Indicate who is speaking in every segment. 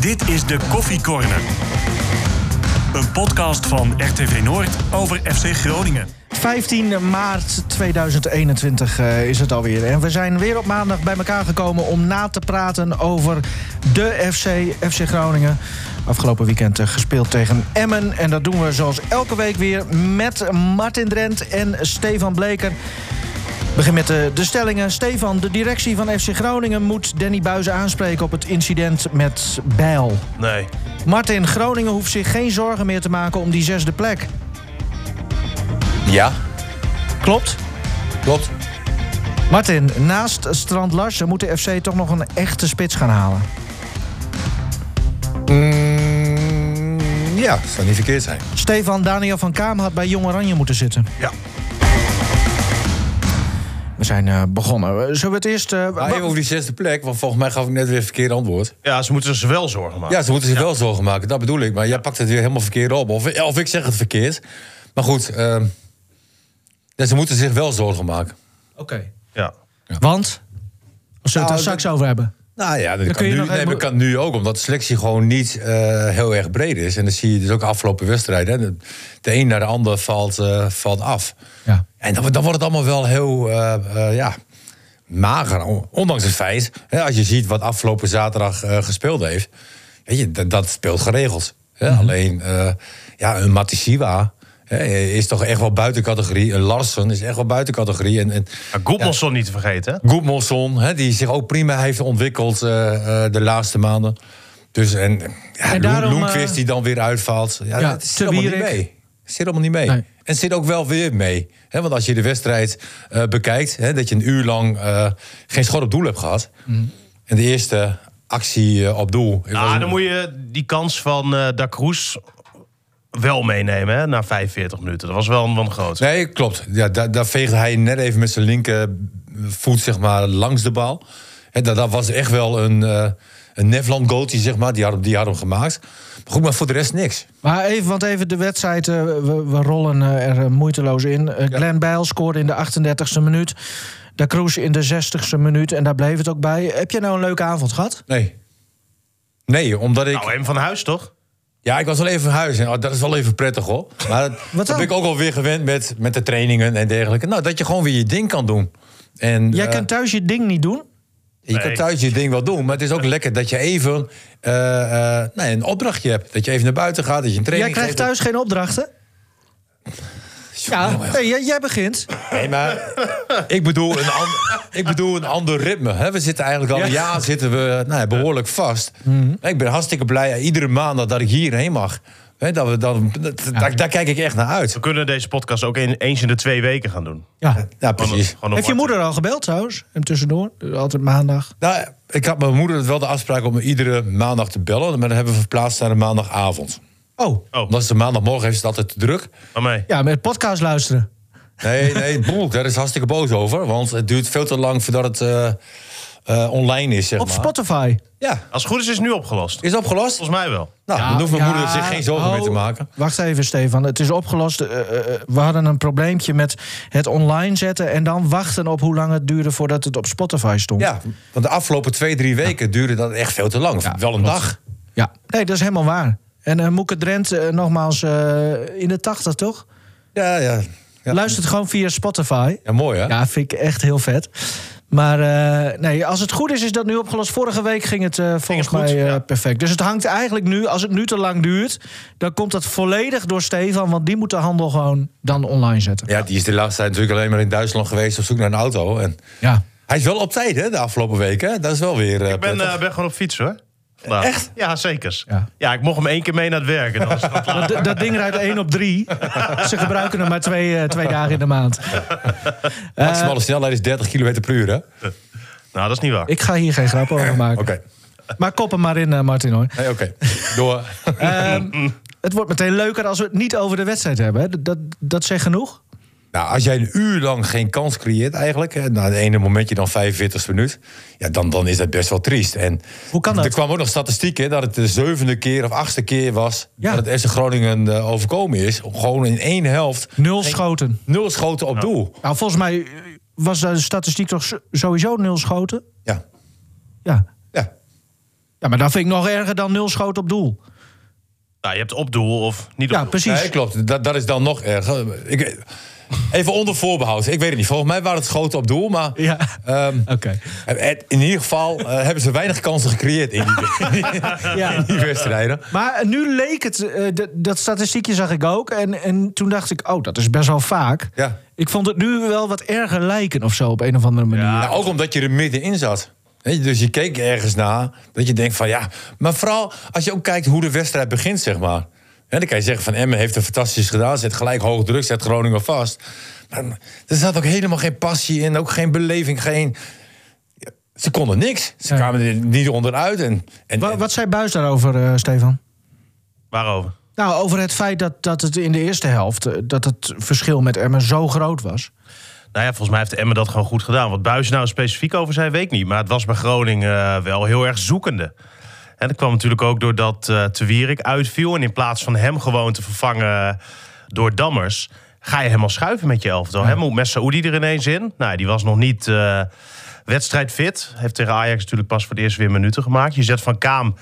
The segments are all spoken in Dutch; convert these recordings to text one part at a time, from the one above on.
Speaker 1: Dit is de Koffiekorner. Een podcast van RTV Noord over FC Groningen.
Speaker 2: 15 maart 2021 eh, is het alweer. En we zijn weer op maandag bij elkaar gekomen om na te praten over de FC, FC Groningen. Afgelopen weekend eh, gespeeld tegen Emmen. En dat doen we zoals elke week weer met Martin Drent en Stefan Bleker. Ik Begin met eh, de, de stellingen. Stefan, de directie van FC Groningen moet Danny Buizen aanspreken op het incident met Bijl.
Speaker 3: Nee.
Speaker 2: Martin, Groningen hoeft zich geen zorgen meer te maken om die zesde plek.
Speaker 3: Ja,
Speaker 2: Klopt?
Speaker 3: klopt.
Speaker 2: Martin, naast Strand Larsen moet de FC toch nog een echte spits gaan halen.
Speaker 3: ja, zou niet verkeerd zijn.
Speaker 2: Stefan Daniel van Kaam had bij Jong Oranje moeten zitten.
Speaker 3: Ja.
Speaker 2: We zijn eh, begonnen. Eh, Zullen we het eerst... eh,
Speaker 3: Maar
Speaker 2: wa-
Speaker 3: even over die zesde plek, want volgens mij gaf ik net weer een verkeerd antwoord.
Speaker 4: Ja, ze moeten zich wel zorgen maken.
Speaker 3: Ja, ze moeten zich wel zorgen maken, dat bedoel ik. Maar jij pakt het weer helemaal verkeerd op. Of, of ik zeg het verkeerd. Maar goed, ehm, ja, ze moeten zich wel zorgen maken.
Speaker 2: Oké.
Speaker 4: Ja.
Speaker 2: Want? Of zullen we het daar
Speaker 3: Nou,
Speaker 2: straks over hebben?
Speaker 3: Nou ja, dat, kan,
Speaker 2: kun je
Speaker 3: nu,
Speaker 2: nog
Speaker 3: nee,
Speaker 2: even-
Speaker 3: maar dat kan nu ook, omdat de selectie gewoon niet
Speaker 4: Nou,
Speaker 3: eh, heel erg breed is. En dat zie je dus ook afgelopen wedstrijden. hè. De, de een naar de ander valt, eh, valt af.
Speaker 2: Ja.
Speaker 3: En dan, wordt- dan wordt het allemaal wel heel eh, eh, ja, mager. on- Ondanks het feit, hè, als je ziet wat afgelopen zaterdag eh, gespeeld heeft. Weet je, dat, dat speelt geregeld. Hè?
Speaker 2: Mhm.
Speaker 3: Alleen eh, ja, een Matisiwa hè, is toch echt wel buiten categorie. Een Larsen is echt wel buiten categorie. En, en,
Speaker 4: Maar Goedmanson niet te vergeten. hè?
Speaker 3: Goedmanson, hè, die zich ook prima heeft ontwikkeld eh, eh, de laatste maanden. Dus en, ja,
Speaker 2: En
Speaker 3: en
Speaker 2: daarom, eh,
Speaker 3: die dan weer uitvalt. Ja,
Speaker 2: ja,
Speaker 3: dat zit
Speaker 2: Te
Speaker 3: allemaal niet
Speaker 2: Wierik.
Speaker 3: mee. Zit allemaal niet mee.
Speaker 2: Nee.
Speaker 3: En zit ook wel weer mee. hè, want als je de wedstrijd eh, bekijkt, hè, dat je een uur lang eh, geen schot op doel hebt gehad.
Speaker 2: Mm.
Speaker 3: En de eerste actie eh, op doel. ik was
Speaker 4: Ah,
Speaker 3: een-
Speaker 4: dan moet je die kans van eh Da Cruz wel meenemen hè, na 45 minuten. Dat was wel een van groot.
Speaker 3: Nee, klopt. Ja, daar, daar veegde hij net even met zijn linkervoet zeg maar, langs de bal. Hè, dat, dat was echt wel een, eh een Nefland goaltje, zeg maar. Die had, hem- die had hem gemaakt. Maar goed, maar voor de rest niks.
Speaker 2: Maar even, want even de wedstrijd, eh, we, we rollen eh, er eh, moeiteloos in. Eh, Glenn Bijl scoorde in de 38e minuut. De Cruz in de 60e minuut en daar bleef het ook bij. Heb je nou een leuke avond gehad?
Speaker 3: Nee. Nee, omdat ik...
Speaker 4: Nou, hem van huis toch?
Speaker 3: Ja, ik was wel even van huis. En, oh, dat is wel even prettig, hoor. Maar dat,
Speaker 2: Wat
Speaker 3: dat
Speaker 2: dan?
Speaker 3: ben ik ook alweer gewend met, met de trainingen en dergelijke. Nou, dat je gewoon weer je ding kan doen. En,
Speaker 2: Jij
Speaker 3: eh,
Speaker 2: kan thuis je ding niet doen?
Speaker 3: Je
Speaker 4: Nee.
Speaker 3: kan thuis je ding wel doen, maar het is ook lekker dat je even eh, eh, nee, een opdrachtje hebt. Dat je even naar buiten gaat, dat je een
Speaker 2: Jij
Speaker 3: training
Speaker 2: krijgt
Speaker 3: geeft.
Speaker 2: thuis geen opdrachten? Ja, nee, jij, jij begint.
Speaker 3: Nee, maar ik bedoel een, an- ik bedoel een ander ritme. Hè? We zitten eigenlijk al een jaar zitten we, nou, ja, behoorlijk vast. Ik ben hartstikke blij iedere maandag dat ik hierheen mag. Hè, dat we, dan dat- daar, daar kijk ik echt naar uit.
Speaker 4: We kunnen deze podcast ook een- eens in de twee weken gaan doen.
Speaker 2: Ja.
Speaker 3: Ja, precies.
Speaker 4: Gewoon om
Speaker 2: Heeft je
Speaker 4: Martin.
Speaker 2: moeder al gebeld trouwens? En tussendoor? Dus Altijd maandag.
Speaker 3: Nou, ik had mijn moeder wel de afspraak om me iedere maandag te bellen. Maar dat hebben we verplaatst naar de maandagavond.
Speaker 2: Oh,
Speaker 4: Oh,
Speaker 3: Omdat ze maandagmorgen heeft ze het altijd te druk.
Speaker 4: waarmee?
Speaker 2: ja, met podcast luisteren.
Speaker 3: Nee, nee, Broek, daar is hartstikke boos over. Want het duurt veel te lang voordat het eh, eh, online is, zeg
Speaker 2: Op
Speaker 3: maar.
Speaker 2: Spotify.
Speaker 3: Ja,
Speaker 4: Als het goed is, is het nu opgelost.
Speaker 3: is opgelost.
Speaker 4: Volgens mij wel.
Speaker 3: Nou, dan hoeft mijn moeder zich geen zorgen
Speaker 2: meer
Speaker 3: meer te maken.
Speaker 2: oh. Wacht even, Stefan. Het is opgelost. Eh, eh, eh, we hadden een probleempje met het online zetten... en dan wachten op hoe lang het duurde voordat het op Spotify stond.
Speaker 3: Ja, want de afgelopen twee, drie weken duurde dat echt veel te lang. Of wel een dag.
Speaker 2: Ja. Nee, dat is helemaal waar. En eh Moeke Drent, eh, nogmaals, eh, in de tachtig, toch?
Speaker 3: Ja, ja. Ja,
Speaker 2: Luistert gewoon via Spotify.
Speaker 3: ja mooi hè?
Speaker 2: Ja, vind ik echt heel vet. Maar eh, nee, als het goed is, is dat nu opgelost. Vorige week ging het eh, volgens
Speaker 4: goed,
Speaker 2: mij eh,
Speaker 4: ja.
Speaker 2: perfect. Dus het hangt eigenlijk nu, als het nu te lang duurt... dan komt dat volledig door Stefan, want die moet de handel gewoon dan online zetten.
Speaker 3: Ja, die is de laatste tijd natuurlijk alleen maar in Duitsland geweest op zoek naar een auto. En
Speaker 2: Ja.
Speaker 3: hij is wel op tijd hè, de afgelopen weken. hè? Dat is wel weer eh,
Speaker 4: Ik ben,
Speaker 3: prettig.
Speaker 4: eh, ben gewoon op fiets hoor. Vandaag.
Speaker 3: Echt?
Speaker 4: Ja, zeker.
Speaker 2: Ja.
Speaker 4: Ja. ik mocht hem één keer mee naar het werk. en dan was het wel klaar.
Speaker 2: Dat, dat ding rijdt 1 op 3. Ze gebruiken hem maar twee, eh, twee dagen in de maand.
Speaker 4: eh,
Speaker 3: Maximale snelheid is 30 km per uur hè? Oké.
Speaker 4: nou, dat is niet waar.
Speaker 2: Ik ga hier geen grap over maken. Maar kop hem maar in, eh, Martin hoor.
Speaker 3: Nee, oké. Door.
Speaker 2: Ehm, het wordt meteen leuker als we het niet over de wedstrijd hebben. hè. Dat, dat, dat zegt genoeg.
Speaker 3: Nou, als jij een uur lang geen kans creëert eigenlijk, hè, na het ene momentje dan 45 minuut, ja, dan, dan is dat best wel triest. En
Speaker 2: Hoe kan dat?
Speaker 3: Er kwam ook nog statistiek hè, dat het de zevende keer of achtste keer was
Speaker 2: Ja.
Speaker 3: dat het FC Groningen eh, overkomen is. Gewoon in één helft
Speaker 2: Nul schoten.
Speaker 3: nul schoten op doel.
Speaker 2: Nou, volgens mij eh, was de statistiek toch s- sowieso nul schoten?
Speaker 3: Ja,
Speaker 2: Ja.
Speaker 3: ja.
Speaker 2: Ja, maar dat vind ik nog erger dan nul schoten op doel.
Speaker 4: Nou, je hebt op doel of niet op
Speaker 2: Ja,
Speaker 4: doel.
Speaker 2: precies.
Speaker 3: Nee, klopt. Dat, dat is dan nog erger. Ik, even onder voorbehoud. Ik weet het niet. Volgens mij waren het schoten op doel, maar...
Speaker 2: Ja,
Speaker 3: ehm,
Speaker 2: oké.
Speaker 3: het- in ieder geval eh, hebben ze weinig kansen gecreëerd in die,
Speaker 2: Ja.
Speaker 3: in die wedstrijden.
Speaker 2: Maar nu leek het, eh, d- dat statistiekje zag ik ook. En, en toen dacht ik, oh, dat is best wel vaak.
Speaker 3: Ja.
Speaker 2: Ik vond het nu wel wat erger lijken of zo op een of andere manier.
Speaker 3: Ja, Nou, ook omdat je er middenin zat. Weet je, dus je keek ergens naar dat je denkt van ja. Maar vooral als je ook kijkt hoe de wedstrijd begint, zeg maar. Ja, dan kan je zeggen van Emmen heeft het fantastisch gedaan. Zet gelijk hoog druk, zet Groningen vast. Maar er zat ook helemaal geen passie in, ook geen beleving, geen... Ze konden niks. Ze
Speaker 2: Ja.
Speaker 3: kwamen er niet onderuit. En, en,
Speaker 2: Wa- wat zei Buis daarover, eh, Stefan?
Speaker 4: Waarover?
Speaker 2: Nou, over het feit dat, dat het in de eerste helft... eh, dat het verschil met Emmen zo groot was.
Speaker 4: Nou ja, volgens mij heeft Emmen dat gewoon goed gedaan. Wat Buis nou specifiek over zei, weet ik niet. Maar het was bij Groningen eh, wel heel erg zoekende. En dat kwam natuurlijk ook doordat eh Te Wierik uitviel. En in plaats van hem gewoon te vervangen door Dammers... ga je helemaal schuiven met je elftal. Hè? Moet Messaoudi er ineens in? Nou, die was nog niet eh, wedstrijdfit. Heeft tegen Ajax natuurlijk pas voor het eerst weer minuten gemaakt. Je zet Van Kaam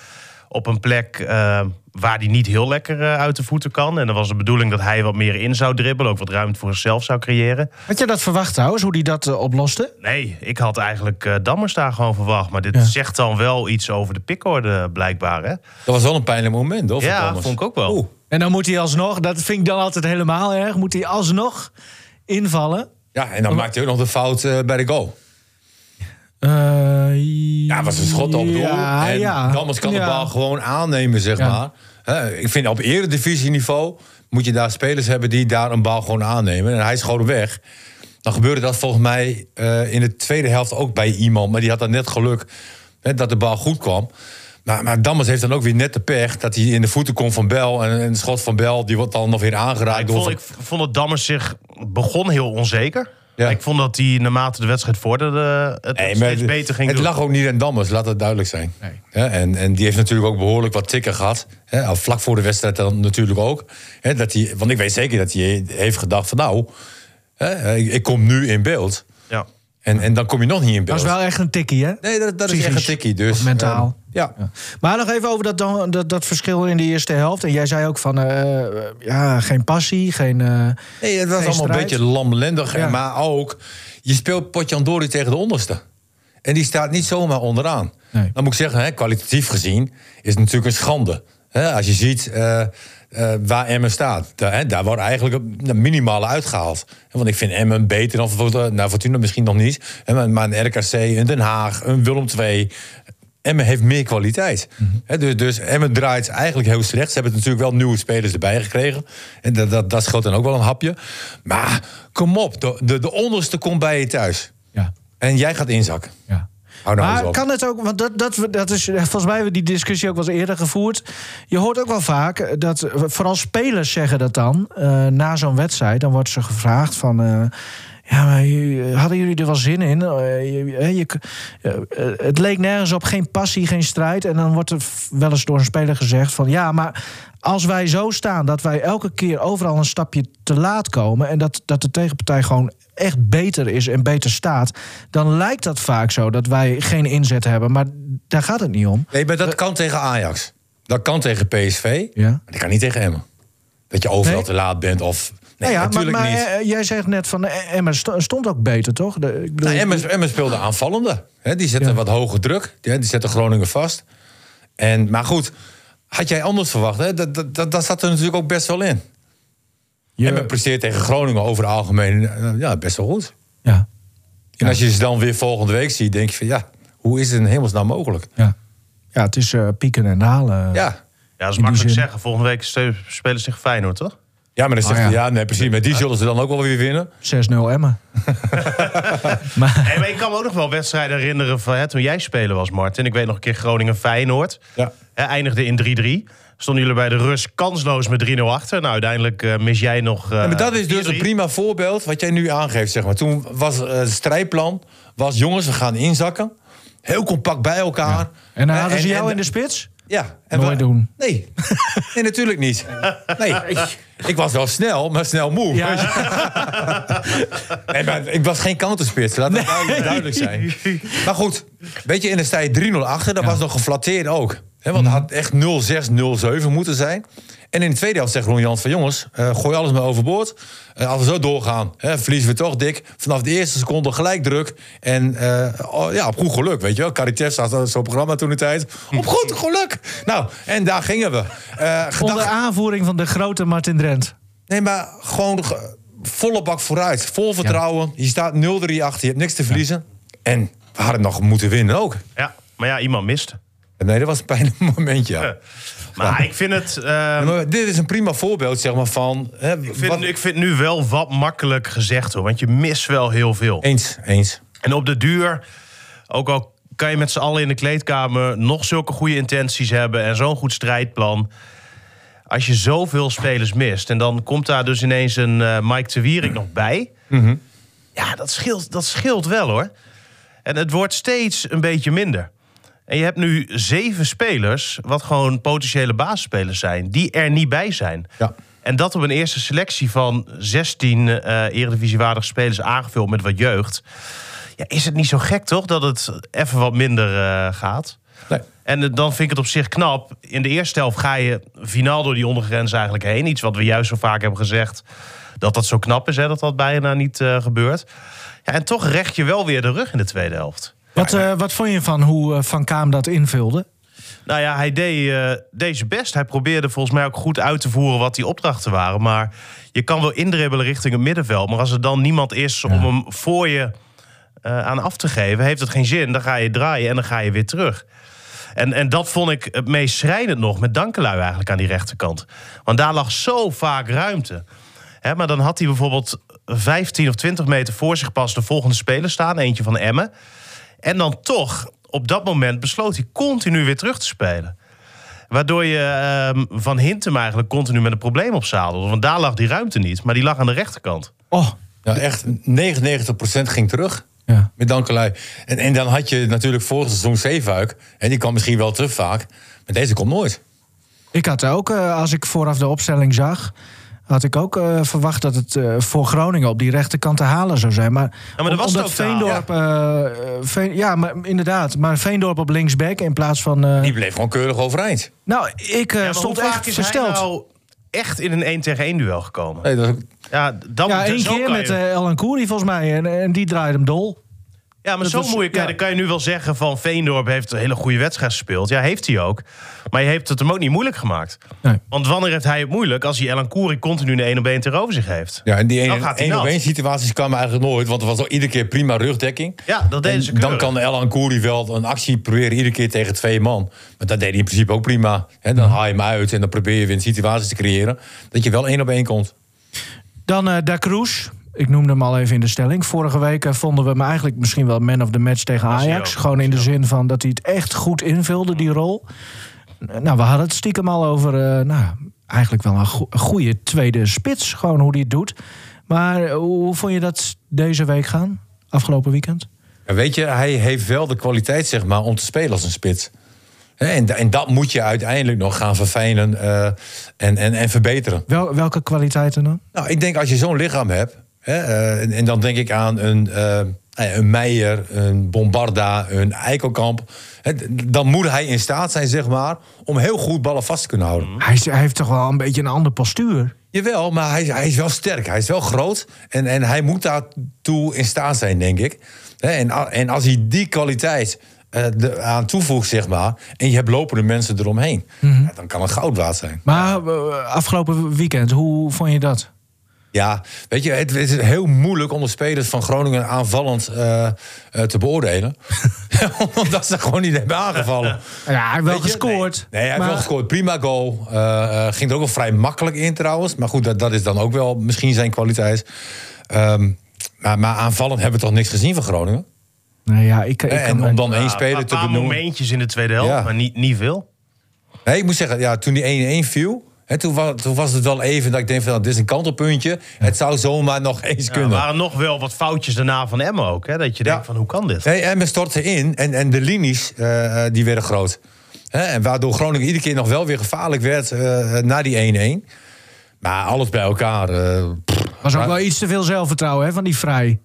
Speaker 4: op een plek eh, waar die niet heel lekker eh, uit de voeten kan. En dan was de bedoeling dat hij wat meer in zou dribbelen. Ook wat ruimte voor zichzelf zou creëren.
Speaker 2: Had je dat verwacht trouwens, hoe die dat eh, oploste?
Speaker 4: Nee, ik had eigenlijk eh, Dammers daar gewoon verwacht. Maar dit zegt dan wel iets over de pikorde, blijkbaar. Hè?
Speaker 3: dat was wel een pijnlijk moment, hoor. voor
Speaker 4: Ja,
Speaker 3: Thomas.
Speaker 4: vond ik ook wel.
Speaker 3: Oeh.
Speaker 2: En dan moet hij alsnog, dat vind ik dan altijd helemaal erg... moet hij alsnog invallen.
Speaker 3: Ja, en dan maakte hij ook nog de fout eh, bij de goal. Ja, was een schot op doel.
Speaker 2: Eh, Ja,
Speaker 3: en
Speaker 2: ja.
Speaker 3: Dammers kan
Speaker 2: Ja.
Speaker 3: de bal gewoon aannemen, zeg
Speaker 2: Ja.
Speaker 3: maar. Hè, ik vind op eredivisieniveau moet je daar spelers hebben die daar een bal gewoon aannemen. En hij schoot hem weg. Dan gebeurde dat volgens mij eh, in de tweede helft ook bij iemand. Maar die had dan net geluk hè, dat de bal goed kwam. Maar, maar Dammers heeft dan ook weer net de pech dat hij in de voeten komt van Bel. En, en de schot van Bel die wordt dan nog weer aangeraakt
Speaker 4: Ik
Speaker 3: door...
Speaker 4: vond,
Speaker 3: Van-
Speaker 4: ik vond dat Dammers zich begon heel onzeker.
Speaker 3: Ja.
Speaker 4: Ik vond dat hij naarmate de wedstrijd vorderde het
Speaker 3: Nee, maar
Speaker 4: steeds
Speaker 3: het-
Speaker 4: beter ging
Speaker 3: Het
Speaker 4: doen.
Speaker 3: lag ook niet aan Dammers, laat dat duidelijk zijn.
Speaker 2: Nee.
Speaker 3: Ja, en, en die heeft natuurlijk ook behoorlijk wat tikken gehad. Hè, al vlak voor de wedstrijd dan natuurlijk ook. Hè, dat hij, want ik weet zeker dat hij heeft gedacht van nou, hè, ik, ik kom nu in beeld.
Speaker 4: Ja.
Speaker 3: En, en dan kom je nog niet in
Speaker 2: Dat
Speaker 3: beeld.
Speaker 2: is wel echt een tikkie, hè?
Speaker 3: nee, dat, dat is echt een
Speaker 2: Psychisch
Speaker 3: tikkie. Dus,
Speaker 2: of mentaal.
Speaker 3: eh, ja.
Speaker 2: Ja. Maar nog even over dat, dan, dat, dat verschil in de eerste helft. En jij zei ook van, eh, ja, geen passie, geen... eh,
Speaker 3: Nee,
Speaker 2: Geen
Speaker 3: het was allemaal een
Speaker 2: strijd.
Speaker 3: beetje lamlendig.
Speaker 2: Ja.
Speaker 3: Maar ook, je speelt Potjandori tegen de onderste. En die staat niet zomaar onderaan.
Speaker 2: Nee.
Speaker 3: Dan moet ik zeggen, hè, kwalitatief gezien is het natuurlijk een schande. Hè, als je ziet eh, eh, waar Emmen staat. Daar, hè, daar wordt eigenlijk een minimale uitgehaald. Want ik vind Emmen beter dan Fortuna, nou, Fortuna misschien nog niet. hè, Maar maar een RKC, een Den Haag, een Willem II... Emmen heeft meer kwaliteit.
Speaker 2: Mhm.
Speaker 3: Hè, dus, dus Emmen draait eigenlijk heel slecht. Ze hebben natuurlijk wel nieuwe spelers erbij gekregen. En dat, dat, dat scheelt dan ook wel een hapje. Maar kom op, de, de, de onderste komt bij je thuis.
Speaker 2: ja,
Speaker 3: En jij gaat inzakken.
Speaker 2: ja.
Speaker 3: Hou nou eens
Speaker 2: maar
Speaker 3: op.
Speaker 2: kan het ook, want dat, dat, we- dat is volgens mij hebben we die discussie ook wel eens eerder gevoerd. Je hoort ook wel vaak dat eh, vooral spelers zeggen dat dan eh, na zo'n wedstrijd. Dan wordt ze gevraagd van, eh, ja, maar jullie- hadden jullie er wel zin in? Eh, je, eh, je, eh, eh, het leek nergens op, geen passie, geen strijd. En dan wordt er f- wel eens door een speler gezegd van, ja, maar als wij zo staan dat wij elke keer overal een stapje te laat komen en dat, dat de tegenpartij gewoon echt beter is en beter staat, dan lijkt dat vaak zo dat wij geen inzet hebben. Maar daar gaat het niet om.
Speaker 3: Nee, maar dat kan tegen Ajax. Dat kan tegen PSV.
Speaker 2: Ja.
Speaker 3: Maar dat kan niet tegen Emmen. Dat je overal
Speaker 2: Nee.
Speaker 3: te laat bent of... Nee,
Speaker 2: Nou ja, maar,
Speaker 3: natuurlijk
Speaker 2: maar
Speaker 3: niet.
Speaker 2: eh, jij zegt net van eh, Emma sto- stond ook beter, toch? De, ik bedoel,
Speaker 3: Nou, Emmen, Emmen speelde aanvallende. Hè, die zetten
Speaker 2: eh, Ja.
Speaker 3: wat hoge druk. Die, die zetten Groningen vast. En, maar goed, had jij anders verwacht? Hè? Dat, dat, dat, dat zat er natuurlijk ook best wel in.
Speaker 2: je-
Speaker 3: Emmen presteert tegen Groningen over het algemeen eh, ja, best wel goed.
Speaker 2: ja,
Speaker 3: En als je ze dan weer volgende week ziet, denk je van... ja, hoe is het in hemelsnaam mogelijk?
Speaker 2: ja. ja, het is eh, pieken en halen.
Speaker 3: Ja,
Speaker 4: ja, dat is
Speaker 2: die
Speaker 4: makkelijk
Speaker 2: zin.
Speaker 4: zeggen. Volgende week ste- spelen ze tegen Feyenoord, toch?
Speaker 3: ja maar dan zeg je...
Speaker 2: Oh, ja.
Speaker 3: ja. nee, precies. Maar die zullen ze dan ook wel weer winnen.
Speaker 2: 6-0 Emma. maar,
Speaker 4: Nee, maar ik kan me ook nog wel wedstrijden herinneren van hè, toen jij spelen was, Martin. Ik weet nog een keer Groningen-Feyenoord.
Speaker 3: Ja.
Speaker 4: Hè, eindigde in 3-3. Stonden jullie bij de Rus kansloos met 3-0 achter. Nou, uiteindelijk eh, mis jij nog... eh,
Speaker 3: Ja, maar dat is dus
Speaker 4: 4-3.
Speaker 3: een prima voorbeeld wat jij nu aangeeft. Zeg maar. Toen was eh, het strijdplan, was jongens, we gaan inzakken. Heel compact bij elkaar.
Speaker 2: en dan
Speaker 3: Eh,
Speaker 2: hadden ze jou
Speaker 3: en-
Speaker 2: in de spits?
Speaker 3: Ja.
Speaker 2: Nooit
Speaker 3: we-
Speaker 2: doen.
Speaker 3: Nee. nee, natuurlijk niet. Nee. Ik was wel snel, maar snel moe. Nee, maar ik was geen counterspits, laat dat duidelijk, duidelijk zijn. Maar goed, weet je, en dan sta je 3-0 achter. Dat was nog geflatteerd ook. hè, want het had echt 0-6, 0-7 moeten zijn. En in de tweede helft zegt Ron Jans van... jongens, eh, gooi alles maar overboord. Eh, als we zo doorgaan, hè, verliezen we toch dik. Vanaf de eerste seconde gelijk druk. En eh, oh, ja, op goed geluk, weet je wel. Caritas had dat zo'n programma toen de tijd. Op goed geluk! Nou, en daar gingen we. Eh,
Speaker 2: Onder
Speaker 3: gedacht,
Speaker 2: aanvoering van de grote Martin Drent.
Speaker 3: Nee, maar gewoon ge- volle bak vooruit. Vol vertrouwen. Je staat 0-3 achter. Je hebt niks te verliezen. En we hadden nog moeten winnen ook.
Speaker 4: Ja, maar ja, iemand mist.
Speaker 3: Nee, dat was een pijnlijk momentje. ja.
Speaker 4: Maar ik vind het... ehm,
Speaker 3: Maar dit is een prima voorbeeld, zeg maar, van... Hè,
Speaker 4: ik, vind,
Speaker 3: wat-
Speaker 4: ik vind nu wel wat makkelijk gezegd hoor. Want je mist wel heel veel.
Speaker 3: Eens, eens.
Speaker 4: En op de duur, ook al kan je met z'n allen in de kleedkamer nog zulke goede intenties hebben en zo'n goed strijdplan. Als je zoveel spelers mist en dan komt daar dus ineens een eh, Mike de Wierik nog bij. Ja, dat scheelt, dat scheelt wel hoor. En het wordt steeds een beetje minder. En je hebt nu zeven spelers, wat gewoon potentiële basisspelers zijn, die er niet bij zijn.
Speaker 3: Ja.
Speaker 4: En dat op een eerste selectie van 16 eh eredivisiewaardige spelers aangevuld met wat jeugd. Ja, is het niet zo gek toch dat het even wat minder eh, gaat?
Speaker 3: Nee.
Speaker 4: En eh, dan vind ik het op zich knap. In de eerste helft ga je finaal door die ondergrens eigenlijk heen. Iets wat we juist zo vaak hebben gezegd. Dat dat zo knap is, hè, dat dat bijna niet eh, gebeurt. Ja, en toch recht je wel weer de rug in de tweede helft.
Speaker 2: Wat, eh, wat vond je van hoe eh, Van Kaam dat invulde?
Speaker 4: Nou ja, hij deed eh, deze best. Hij probeerde volgens mij ook goed uit te voeren wat die opdrachten waren. Maar je kan wel indribbelen richting het middenveld. Maar als er dan niemand is om hem voor je eh, aan af te geven, heeft het geen zin. Dan ga je draaien en dan ga je weer terug. En, en dat vond ik het meest schrijnend nog met Dankelui eigenlijk aan die rechterkant. Want daar lag zo vaak ruimte. Hè, maar dan had hij bijvoorbeeld 15 of 20 meter voor zich pas de volgende speler staan. Eentje van Emmen. En dan toch, op dat moment besloot hij continu weer terug te spelen. Waardoor je ehm, Van Hintem eigenlijk continu met een probleem op zadelde. Want daar lag die ruimte niet, maar die lag aan de rechterkant.
Speaker 2: Oh,
Speaker 3: Nou, echt, 99% ging terug.
Speaker 2: Ja.
Speaker 3: Met dankelui. En, en dan had je natuurlijk vorig seizoen Zeefuik. En die kwam misschien wel te vaak. Maar deze komt nooit.
Speaker 2: ik had ook, eh, als ik vooraf de opstelling zag... had ik ook eh, verwacht dat het eh, voor Groningen op die rechterkant te halen zou zijn. Maar,
Speaker 4: maar dat
Speaker 2: om-
Speaker 4: was het
Speaker 2: omdat
Speaker 4: ook te halen.
Speaker 2: Veendorp... eh, eh, Veen- ja, maar, inderdaad. Maar Veendorp op linksback in plaats van... eh,
Speaker 3: Die bleef gewoon keurig overeind.
Speaker 2: nou, ik eh,
Speaker 4: Ja, maar
Speaker 2: stond
Speaker 4: hoe vaak
Speaker 2: echt
Speaker 4: is hij
Speaker 2: versteld. Eh,
Speaker 4: nou echt in een 1 tegen 1 duel gekomen?
Speaker 3: Nee, dat,
Speaker 4: Ja, dan,
Speaker 2: ja, één
Speaker 4: zo
Speaker 2: keer
Speaker 4: kan
Speaker 2: met
Speaker 4: je-
Speaker 2: eh El Ancoury volgens mij. En, en die draaide hem dol.
Speaker 4: Ja, maar
Speaker 2: Dat
Speaker 4: zo
Speaker 2: was-
Speaker 4: moeilijk. ja,
Speaker 2: ja.
Speaker 4: Dan kan je nu wel zeggen van Veendorp heeft een hele goede wedstrijd gespeeld. Ja, heeft hij ook. Maar je heeft het hem ook niet moeilijk gemaakt.
Speaker 2: Nee.
Speaker 4: Want wanneer heeft hij het moeilijk als hij Elan Koeri continu een 1 op 1 tegenover zich heeft?
Speaker 3: Ja, en die
Speaker 4: Dan gaat hij
Speaker 3: 1 op
Speaker 4: nat.
Speaker 3: 1 situaties kwamen eigenlijk nooit, want er was al iedere keer prima rugdekking.
Speaker 4: Ja, dat deden
Speaker 3: En
Speaker 4: ze
Speaker 3: dan
Speaker 4: keurig.
Speaker 3: kan Elan Kouri wel een actie proberen iedere keer tegen twee man. Maar dat deed hij in principe ook prima. hè dan haal je hem uit en dan probeer je weer een situatie te creëren dat je wel één op één komt.
Speaker 2: Dan eh Da Cruz. Ik noemde hem al even in de stelling. Vorige week eh, vonden we hem eigenlijk misschien wel man of the match tegen
Speaker 4: Was hij
Speaker 2: Ajax.
Speaker 4: ook,
Speaker 2: Gewoon in de
Speaker 4: was hij
Speaker 2: zin van dat hij het echt goed invulde, die rol. Eh, Nou, we hadden het stiekem al over, eh, nou, eigenlijk wel een go- een goede tweede spits. Gewoon hoe hij het doet. Maar eh, hoe vond je dat deze week gaan? Afgelopen weekend?
Speaker 3: Ja, weet je, hij heeft wel de kwaliteit zeg maar, om te spelen als een spits. Hè, En, da- en dat moet je uiteindelijk nog gaan verfijnen eh, en, en, en verbeteren.
Speaker 2: Wel, welke kwaliteiten dan?
Speaker 3: Nou, ik denk als je zo'n lichaam hebt, hè, eh, en, en dan denk ik aan een, eh, eh, een Meijer, een Bombarda, een Eikelkamp. Hè, d- dan moet hij in staat zijn, zeg maar, om heel goed ballen vast te kunnen houden.
Speaker 2: Hij, is- hij heeft toch wel een beetje een ander postuur.
Speaker 3: Jawel, maar hij, hij is wel sterk, hij is wel groot. En, en hij moet daartoe in staat zijn, denk ik. Hè, en, a- en als hij die kwaliteit eh, de- aan toevoegt, zeg maar, en je hebt lopende mensen eromheen, ja, dan kan het goud waard zijn.
Speaker 2: Maar eh, afgelopen weekend, hoe vond je dat?
Speaker 3: Ja, weet je, het is heel moeilijk om de spelers van Groningen aanvallend eh, eh, te beoordelen. Omdat ze gewoon niet hebben aangevallen.
Speaker 2: Ja, hij heeft wel
Speaker 3: Weet je,
Speaker 2: gescoord.
Speaker 3: Nee, hij heeft
Speaker 2: maar-
Speaker 3: wel gescoord. Prima goal. Eh, eh, ging er ook wel vrij makkelijk in trouwens. Maar goed, dat, dat is dan ook wel misschien zijn kwaliteit. Ehm, maar, maar aanvallend hebben we toch niks gezien van Groningen? Eh,
Speaker 2: Nou ja, ik, ik kan
Speaker 3: en
Speaker 2: me-
Speaker 3: om dan één
Speaker 4: Ja,
Speaker 3: speler
Speaker 4: Nou, een
Speaker 3: te
Speaker 4: paar
Speaker 3: benoemen.
Speaker 4: momentjes in de tweede helft,
Speaker 3: Ja.
Speaker 4: maar niet, niet veel.
Speaker 3: Nee, ik moet zeggen, ja, toen die 1-1 viel... Hè, toen, was, toen was het wel even dat ik denk van, nou, dit is een kantelpuntje. Het zou zomaar nog eens
Speaker 4: Ja, er
Speaker 3: kunnen.
Speaker 4: waren nog wel wat foutjes daarna van Emma ook. Hè? Dat je
Speaker 3: Ja.
Speaker 4: denkt van, hoe kan dit?
Speaker 3: Nee, en men stortte in en, en de linies eh, eh, die werden groot. Hè, Hè, en waardoor Groningen iedere keer nog wel weer gevaarlijk werd eh, na die 1-1. Maar alles bij elkaar. eh, pff,
Speaker 2: Was ook
Speaker 3: maar-
Speaker 2: wel iets te veel zelfvertrouwen hè, van die Vrij.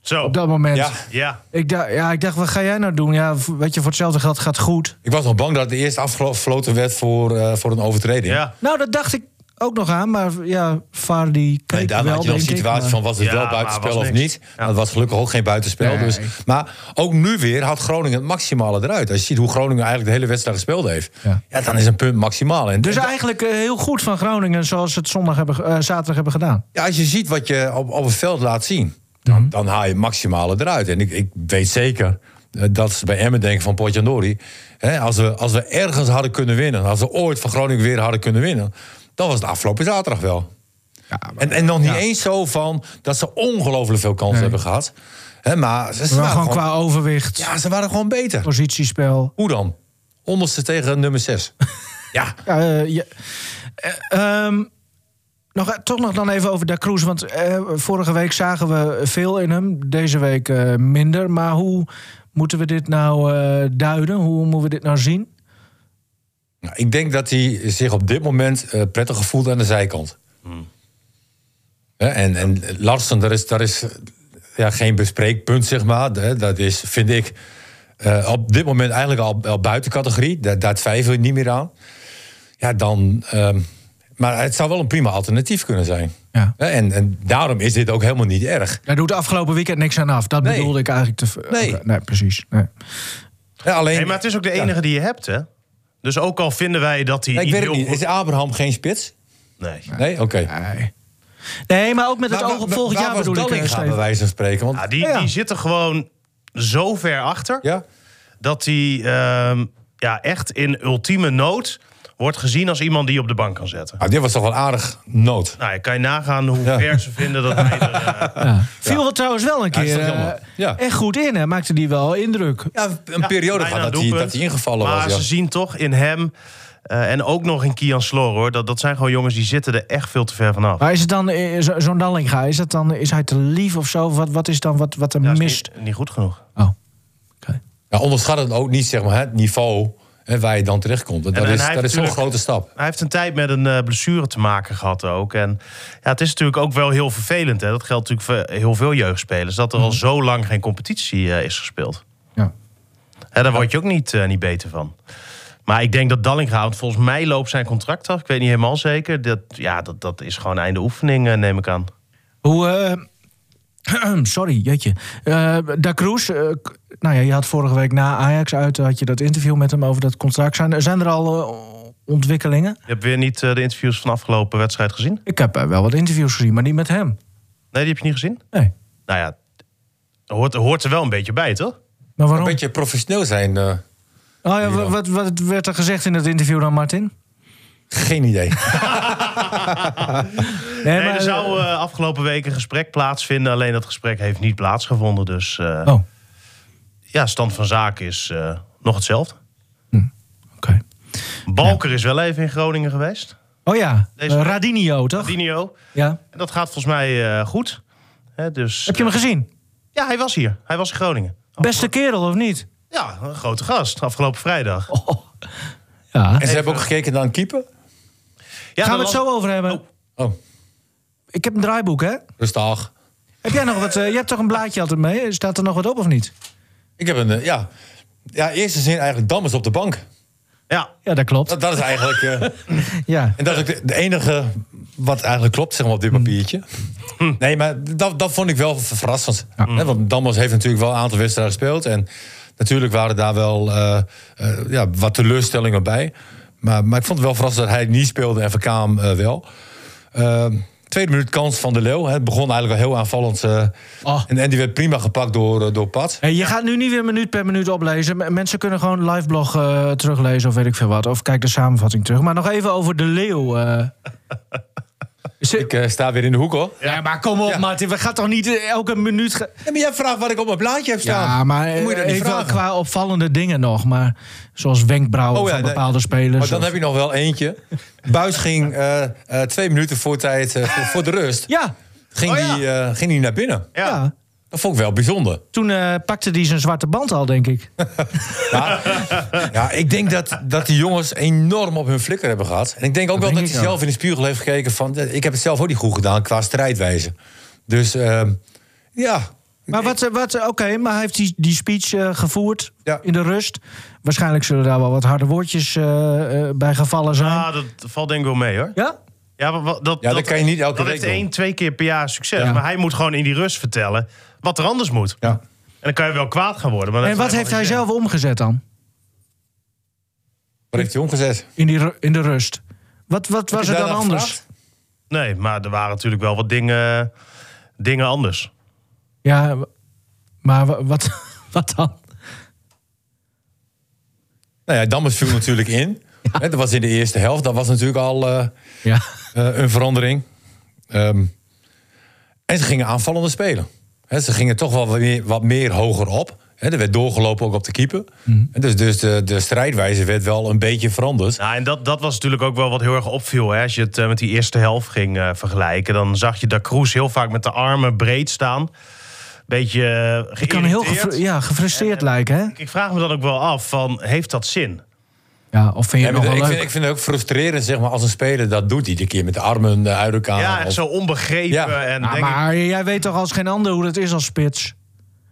Speaker 4: Zo.
Speaker 2: Op dat moment.
Speaker 3: Ja.
Speaker 4: Ja.
Speaker 2: Ik, dacht, ja, ik dacht, wat ga jij nou doen? Ja, v- weet je, voor hetzelfde geld gaat goed.
Speaker 3: Ik was nog bang dat het eerst afgefloten werd voor, eh, voor een overtreding.
Speaker 4: Ja.
Speaker 2: Nou, dat dacht ik ook nog aan. Maar ja, VAR die keek
Speaker 3: Nee, daar
Speaker 2: wel,
Speaker 3: had je nog een
Speaker 2: denk ik,
Speaker 3: situatie
Speaker 2: maar-
Speaker 3: van was het
Speaker 4: Ja,
Speaker 3: wel
Speaker 4: maar
Speaker 3: buitenspel
Speaker 4: was
Speaker 3: of
Speaker 4: niks.
Speaker 3: niet.
Speaker 4: Ja.
Speaker 3: Maar Het was gelukkig ook geen buitenspel.
Speaker 2: Nee.
Speaker 3: Dus, maar ook nu weer had Groningen het maximale eruit. Als je ziet hoe Groningen eigenlijk de hele wedstrijd gespeeld heeft.
Speaker 2: Ja.
Speaker 3: Ja, dan is een punt maximaal. En,
Speaker 2: Dus
Speaker 3: en-
Speaker 2: eigenlijk eh, heel goed van Groningen, zoals ze het zondag hebben, ge- eh, zaterdag hebben gedaan.
Speaker 3: ja, als je ziet wat je op, op het veld laat zien, dan,
Speaker 2: Mhm.
Speaker 3: dan haal je het maximale eruit. En ik, ik weet zeker eh, dat ze bij Emmen denken van Potjandori. Hè, als, we, als we ergens hadden kunnen winnen, als we ooit van Groningen weer hadden kunnen winnen... dan was het afgelopen zaterdag wel. en, en nog niet
Speaker 2: ja.
Speaker 3: eens zo van dat ze ongelooflijk veel kansen hebben gehad. Hè, maar ze, ze
Speaker 2: Maar
Speaker 3: waren
Speaker 2: gewoon
Speaker 3: Nou, gewoon-
Speaker 2: qua overwicht,
Speaker 3: ja, ze waren gewoon beter.
Speaker 2: positiespel.
Speaker 3: Hoe dan? Onderste tegen nummer 6. ja,
Speaker 2: Ja, eh, ja. Eh, ehm, nog, eh, toch nog dan even over Da Cruz. Want eh, vorige week zagen we veel in hem, deze week eh, minder. Maar hoe moeten we dit nou eh, duiden? Hoe moeten we dit nou zien?
Speaker 3: Nou, Ik denk dat hij zich op dit moment eh, prettiger voelt aan de zijkant.
Speaker 4: Hmm.
Speaker 3: Hè, en, en Larsen, daar is, daar is eh, ja, geen bespreekpunt, zeg maar. Hè, Dat is, vind ik, eh, op dit moment eigenlijk al, al buiten categorie. Daar, daar twijfel ik niet meer aan. Ja, dan... ehm, maar het zou wel een prima alternatief kunnen zijn.
Speaker 2: Ja.
Speaker 3: Hè, En, en daarom is dit ook helemaal niet erg.
Speaker 2: Daar doet afgelopen weekend niks aan af. Dat
Speaker 3: Nee.
Speaker 2: bedoelde ik eigenlijk te... v-
Speaker 3: Nee.
Speaker 2: Oké, nee, precies. Nee.
Speaker 3: Ja, alleen,
Speaker 4: Hey, maar het is ook de
Speaker 3: Ja.
Speaker 4: enige die je hebt, hè? Dus ook al vinden wij dat hij
Speaker 3: Ja, ik weet het
Speaker 4: heel
Speaker 3: niet.
Speaker 4: goed-
Speaker 3: Is Abraham geen spits?
Speaker 4: Nee.
Speaker 3: Nee? Oké.
Speaker 2: Nee. Nee, maar ook met het
Speaker 3: Maar
Speaker 2: oog op
Speaker 3: waar-
Speaker 2: volgend
Speaker 3: waar
Speaker 2: jaar
Speaker 3: was
Speaker 2: bedoel ik. eh,
Speaker 3: Dallinga,
Speaker 2: Steven.
Speaker 3: bij wijze van spreken. Want,
Speaker 4: Ja, die,
Speaker 2: Ja.
Speaker 4: die zitten gewoon zo ver achter...
Speaker 3: ja?
Speaker 4: dat hij ehm, ja, echt in ultieme nood wordt gezien als iemand die je op de bank kan zetten.
Speaker 3: Ah, dit was toch wel aardig nood.
Speaker 4: Nou, je kan je nagaan hoe
Speaker 3: Ja.
Speaker 4: ver ze vinden dat hij er... eh,
Speaker 2: Viel er trouwens wel een
Speaker 3: Ja, is
Speaker 2: keer
Speaker 3: toch
Speaker 2: eh,
Speaker 3: jammer. Ja.
Speaker 2: echt goed in. Hè? Maakte die wel indruk.
Speaker 3: Ja, een
Speaker 4: ja,
Speaker 3: periode
Speaker 4: bijna
Speaker 3: gehad dat hij,
Speaker 4: doelpunt.
Speaker 3: dat hij ingevallen
Speaker 4: maar
Speaker 3: was.
Speaker 4: ze
Speaker 3: Ja.
Speaker 4: zien toch in hem... eh, en ook nog in Kian Slor, hoor. Dat, dat zijn gewoon jongens die zitten er echt veel te ver vanaf.
Speaker 2: Maar is het dan, eh, zo- zo'n Dallinga, is, dat dan, is hij te lief of zo? Wat, wat is dan wat, wat er
Speaker 4: Ja, is
Speaker 2: mist?
Speaker 4: Niet, niet goed genoeg.
Speaker 2: Oh, oké.
Speaker 3: Ja, onderschat het ook niet zeg maar, het niveau hè, waar je dan terechtkomt. Dat,
Speaker 4: En- en
Speaker 3: is,
Speaker 4: hij heeft
Speaker 3: dat is zo'n
Speaker 4: natuurlijk-
Speaker 3: grote stap.
Speaker 4: Hij heeft een tijd met een eh, blessure te maken gehad ook. En ja, het is natuurlijk ook wel heel vervelend. Hè? Dat geldt natuurlijk voor heel veel jeugdspelers. Dat er
Speaker 3: Mhm.
Speaker 4: al zo lang geen competitie eh, is gespeeld.
Speaker 2: Ja.
Speaker 4: Hè, daar word je ook niet, eh, niet beter van. Maar ik denk dat Dallinga, want volgens mij loopt zijn contract af. Ik weet niet helemaal zeker. Dat, ja, dat, dat is gewoon einde oefening, eh, neem ik aan.
Speaker 2: Hoe, eh, sorry, jeetje. Eh da Cruz, eh, k- nou ja, je had vorige week na Ajax uit... eh, had je dat interview met hem over dat contract. Zijn, er- zijn er al eh, ontwikkelingen?
Speaker 4: Je hebt weer niet eh, de interviews van afgelopen wedstrijd gezien?
Speaker 2: Ik heb eh, wel wat interviews gezien, maar niet met hem.
Speaker 4: Nee, die heb je niet gezien?
Speaker 2: Nee.
Speaker 4: Nou ja, hoort, hoort er wel een beetje bij, toch?
Speaker 2: Maar
Speaker 3: Een
Speaker 2: waarom?
Speaker 3: beetje professioneel zijn, eh,
Speaker 2: Oh ja, wa- wat, wat werd er gezegd in dat interview dan, Martin?
Speaker 3: geen idee.
Speaker 4: Nee, er
Speaker 2: maar-
Speaker 4: zou eh, afgelopen week een gesprek plaatsvinden. Alleen dat gesprek heeft niet plaatsgevonden. Dus eh,
Speaker 2: Oh, oké.
Speaker 4: ja, stand van zaken is eh, nog hetzelfde. Balker is wel even in Groningen geweest.
Speaker 2: Oh ja,
Speaker 4: Deze-
Speaker 2: eh, Radinio, toch?
Speaker 4: Dinio.
Speaker 2: Ja.
Speaker 4: En dat gaat volgens mij eh, goed. Hè, dus,
Speaker 2: Heb je hem gezien?
Speaker 4: Ja, hij was hier. Hij was in Groningen.
Speaker 2: Beste kerel, of niet?
Speaker 4: Ja, een grote gast. Afgelopen vrijdag.
Speaker 2: Ja.
Speaker 3: En ze hebben ook gekeken naar een keeper.
Speaker 4: Ja,
Speaker 2: Gaan
Speaker 4: dan
Speaker 2: we het zo over hebben?
Speaker 3: Oh,
Speaker 2: Ik heb een draaiboek, hè?
Speaker 3: rustig.
Speaker 2: Heb jij nog wat? eh, je hebt toch een blaadje altijd mee? Staat er nog wat op of niet?
Speaker 3: Ik heb een, eh, ja... Ja, eerste zin eigenlijk Dammers op de bank.
Speaker 4: Ja,
Speaker 2: Ja, dat klopt.
Speaker 3: Dat, dat is eigenlijk... eh,
Speaker 2: Ja.
Speaker 3: En dat is ook de, de enige wat eigenlijk klopt zeg maar, op dit
Speaker 2: Hmm.
Speaker 3: papiertje. Nee, maar dat, dat vond ik wel ver- verrassend. Hè, Want Dammers heeft natuurlijk wel een aantal wedstrijden gespeeld. En natuurlijk waren daar wel eh, eh, ja, wat teleurstellingen bij. Maar, maar ik vond het wel verrassend dat hij niet speelde en Verkaam eh, wel. Eh, tweede minuut kans van de Leeuw. hè. Het begon eigenlijk wel heel aanvallend. eh,
Speaker 2: Oh.
Speaker 3: en, en die werd prima gepakt door, eh, door Pat.
Speaker 2: Hey, je gaat nu niet weer minuut per minuut oplezen. M- Mensen kunnen gewoon live blog eh, teruglezen of weet ik veel wat. Of kijk de samenvatting terug. Maar nog even over de leeuw. eh. Is er-
Speaker 3: Ik eh, sta weer in de hoek hoor.
Speaker 2: Ja, maar kom op,
Speaker 3: Ja.
Speaker 2: Martin. We gaan toch niet eh, elke minuut... ge-
Speaker 3: Ja, maar jij vraagt wat ik op mijn blaadje heb staan.
Speaker 2: Ja, maar eh,
Speaker 3: Dan moet je dat niet
Speaker 2: even wel
Speaker 3: vragen.
Speaker 2: qua opvallende dingen nog. Maar zoals wenkbrauwen
Speaker 3: Oh ja,
Speaker 2: van
Speaker 3: nee.
Speaker 2: bepaalde spelers.
Speaker 3: Maar dan
Speaker 2: of-
Speaker 3: heb je nog wel eentje. Buis ging eh, eh, twee minuten voor tijd eh, voor, voor de rust.
Speaker 2: Ja,
Speaker 3: Ging,
Speaker 4: Oh ja.
Speaker 3: die, eh, ging die naar binnen.
Speaker 4: ja.
Speaker 2: Ja.
Speaker 3: Dat vond ik wel bijzonder.
Speaker 2: Toen eh, pakte hij zijn zwarte band al, denk ik.
Speaker 3: Ja, ja, ik denk dat, dat die jongens enorm op hun flikker hebben gehad. En ik denk ook wel
Speaker 2: denk
Speaker 3: dat
Speaker 2: ik
Speaker 3: hij
Speaker 2: ook.
Speaker 3: zelf in de spiegel heeft gekeken van... eh, ik heb het zelf ook niet goed gedaan qua strijdwijze. Dus ehm, ja,
Speaker 2: Maar wat, eh, wat eh, oké, maar hij heeft die, die speech eh, gevoerd
Speaker 3: Ja.
Speaker 2: in de rust. Waarschijnlijk zullen daar wel wat harde woordjes eh, eh, bij gevallen zijn.
Speaker 4: Ah, dat valt denk ik wel mee hoor.
Speaker 2: Ja?
Speaker 4: Ja, wa- wa- dat,
Speaker 3: Ja, dat kan je niet elke
Speaker 4: dat
Speaker 3: week
Speaker 4: heeft
Speaker 3: doen.
Speaker 4: één, twee keer per jaar succes.
Speaker 2: Ja.
Speaker 4: Maar hij moet gewoon in die rust vertellen wat er anders moet.
Speaker 3: Ja.
Speaker 4: En dan kan je wel kwaad gaan worden. Maar dat
Speaker 2: En wat heeft hij
Speaker 4: helemaal
Speaker 2: zelf omgezet dan?
Speaker 3: wat heeft hij omgezet?
Speaker 2: In, die, ru- in de rust. Wat, wat was er
Speaker 3: Heb je
Speaker 2: dan
Speaker 3: daarna
Speaker 2: anders?
Speaker 3: gevraagd?
Speaker 4: niet zin. Nee, maar er waren natuurlijk wel wat dingen, dingen anders.
Speaker 2: Ja, w- maar wa- wat, wat dan?
Speaker 3: Nou ja, Dammers viel natuurlijk in. Hè, Dat was in de eerste helft. Dat was natuurlijk al eh,
Speaker 2: Ja.
Speaker 3: eh, een verandering. Ehm, en ze gingen aanvallender spelen. Hè, ze gingen toch wel wat meer, wat meer hoger op. Hè, er werd doorgelopen ook op de keeper.
Speaker 2: Mhm.
Speaker 3: En Dus, dus de, de strijdwijze werd wel een beetje veranderd.
Speaker 4: Nou, en dat, dat was natuurlijk ook wel wat heel erg opviel. Hè? Als je het eh, met die eerste helft ging eh, vergelijken, dan zag je dat Kroes heel vaak met de armen breed staan. Beetje eh,
Speaker 2: Ik kan heel
Speaker 4: geïrriteerd.
Speaker 2: gefru- ja, gefrustreerd lijken, hè?
Speaker 4: Ik vraag me dan ook wel af, van, heeft dat zin?
Speaker 2: Ja, of vind je
Speaker 3: Ja,
Speaker 2: het
Speaker 3: maar
Speaker 2: nog
Speaker 3: ik,
Speaker 2: wel
Speaker 3: vind,
Speaker 2: leuk?
Speaker 3: ik vind het ook frustrerend zeg maar, als een speler dat doet. Iedere keer met de armen eh, uit elkaar.
Speaker 4: ja, echt
Speaker 3: Of-
Speaker 4: zo onbegrepen.
Speaker 3: Ja.
Speaker 4: En
Speaker 2: Ja,
Speaker 4: denk ik,
Speaker 2: maar jij weet toch als geen ander hoe dat is als spits?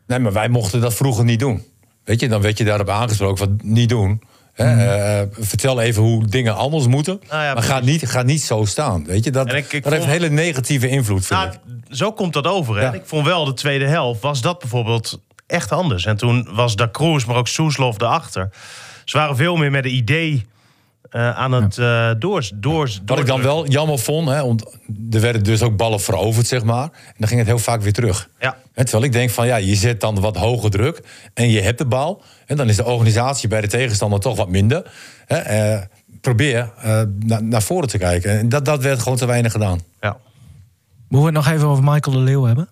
Speaker 3: Nee, maar wij mochten dat vroeger niet doen. Weet je, dan werd je daarop aangesproken van niet doen. Hè,
Speaker 2: Mhm.
Speaker 3: eh, eh, vertel even hoe dingen anders moeten.
Speaker 4: Nou ja,
Speaker 3: maar ga niet, ga niet zo staan. Weet je, dat,
Speaker 4: En ik- ik
Speaker 3: dat heeft een
Speaker 4: vond-
Speaker 3: hele negatieve invloed. Vind
Speaker 4: Nou,
Speaker 3: ik.
Speaker 4: zo komt dat over. Hè?
Speaker 3: Ja.
Speaker 4: Ik vond wel de tweede helft, was dat bijvoorbeeld echt anders. En toen was Da Cruz, maar ook Soeslof erachter. Ze waren veel meer met een idee eh, aan het eh doors, doors,
Speaker 3: Wat ik dan wel jammer vond, hè, want er werden dus ook ballen veroverd, zeg maar. En dan ging het heel vaak weer terug.
Speaker 4: Ja.
Speaker 3: Hè, terwijl ik denk van ja, je zet dan wat hoger druk en je hebt de bal. En dan is de organisatie bij de tegenstander toch wat minder. Hè, eh, probeer eh, na- naar voren te kijken. En dat, dat werd gewoon te weinig gedaan.
Speaker 4: Ja.
Speaker 2: Moeten we het nog even over Michael de Leeuw hebben?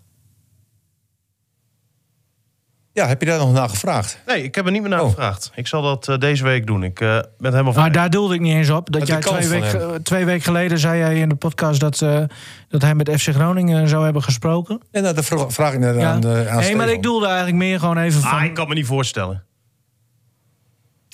Speaker 3: Ja, heb je daar nog naar gevraagd?
Speaker 4: Nee, ik heb er niet meer naar
Speaker 3: Oh.
Speaker 4: gevraagd. Ik zal dat eh, deze week doen. Ik eh, ben helemaal
Speaker 2: Maar
Speaker 4: van.
Speaker 2: daar doelde ik niet eens op. Dat
Speaker 3: Met
Speaker 2: jij
Speaker 3: de kans
Speaker 2: twee
Speaker 3: van
Speaker 2: weken
Speaker 3: hem.
Speaker 2: twee week geleden zei jij in de podcast dat, eh, dat hij met FC Groningen zou hebben gesproken.
Speaker 3: Ja, nou, dat vro- vraag ik net aan, eh, aan
Speaker 2: nee, maar
Speaker 3: Stefan.
Speaker 2: ik doelde eigenlijk meer gewoon even van...
Speaker 4: Ah, ik kan me niet voorstellen.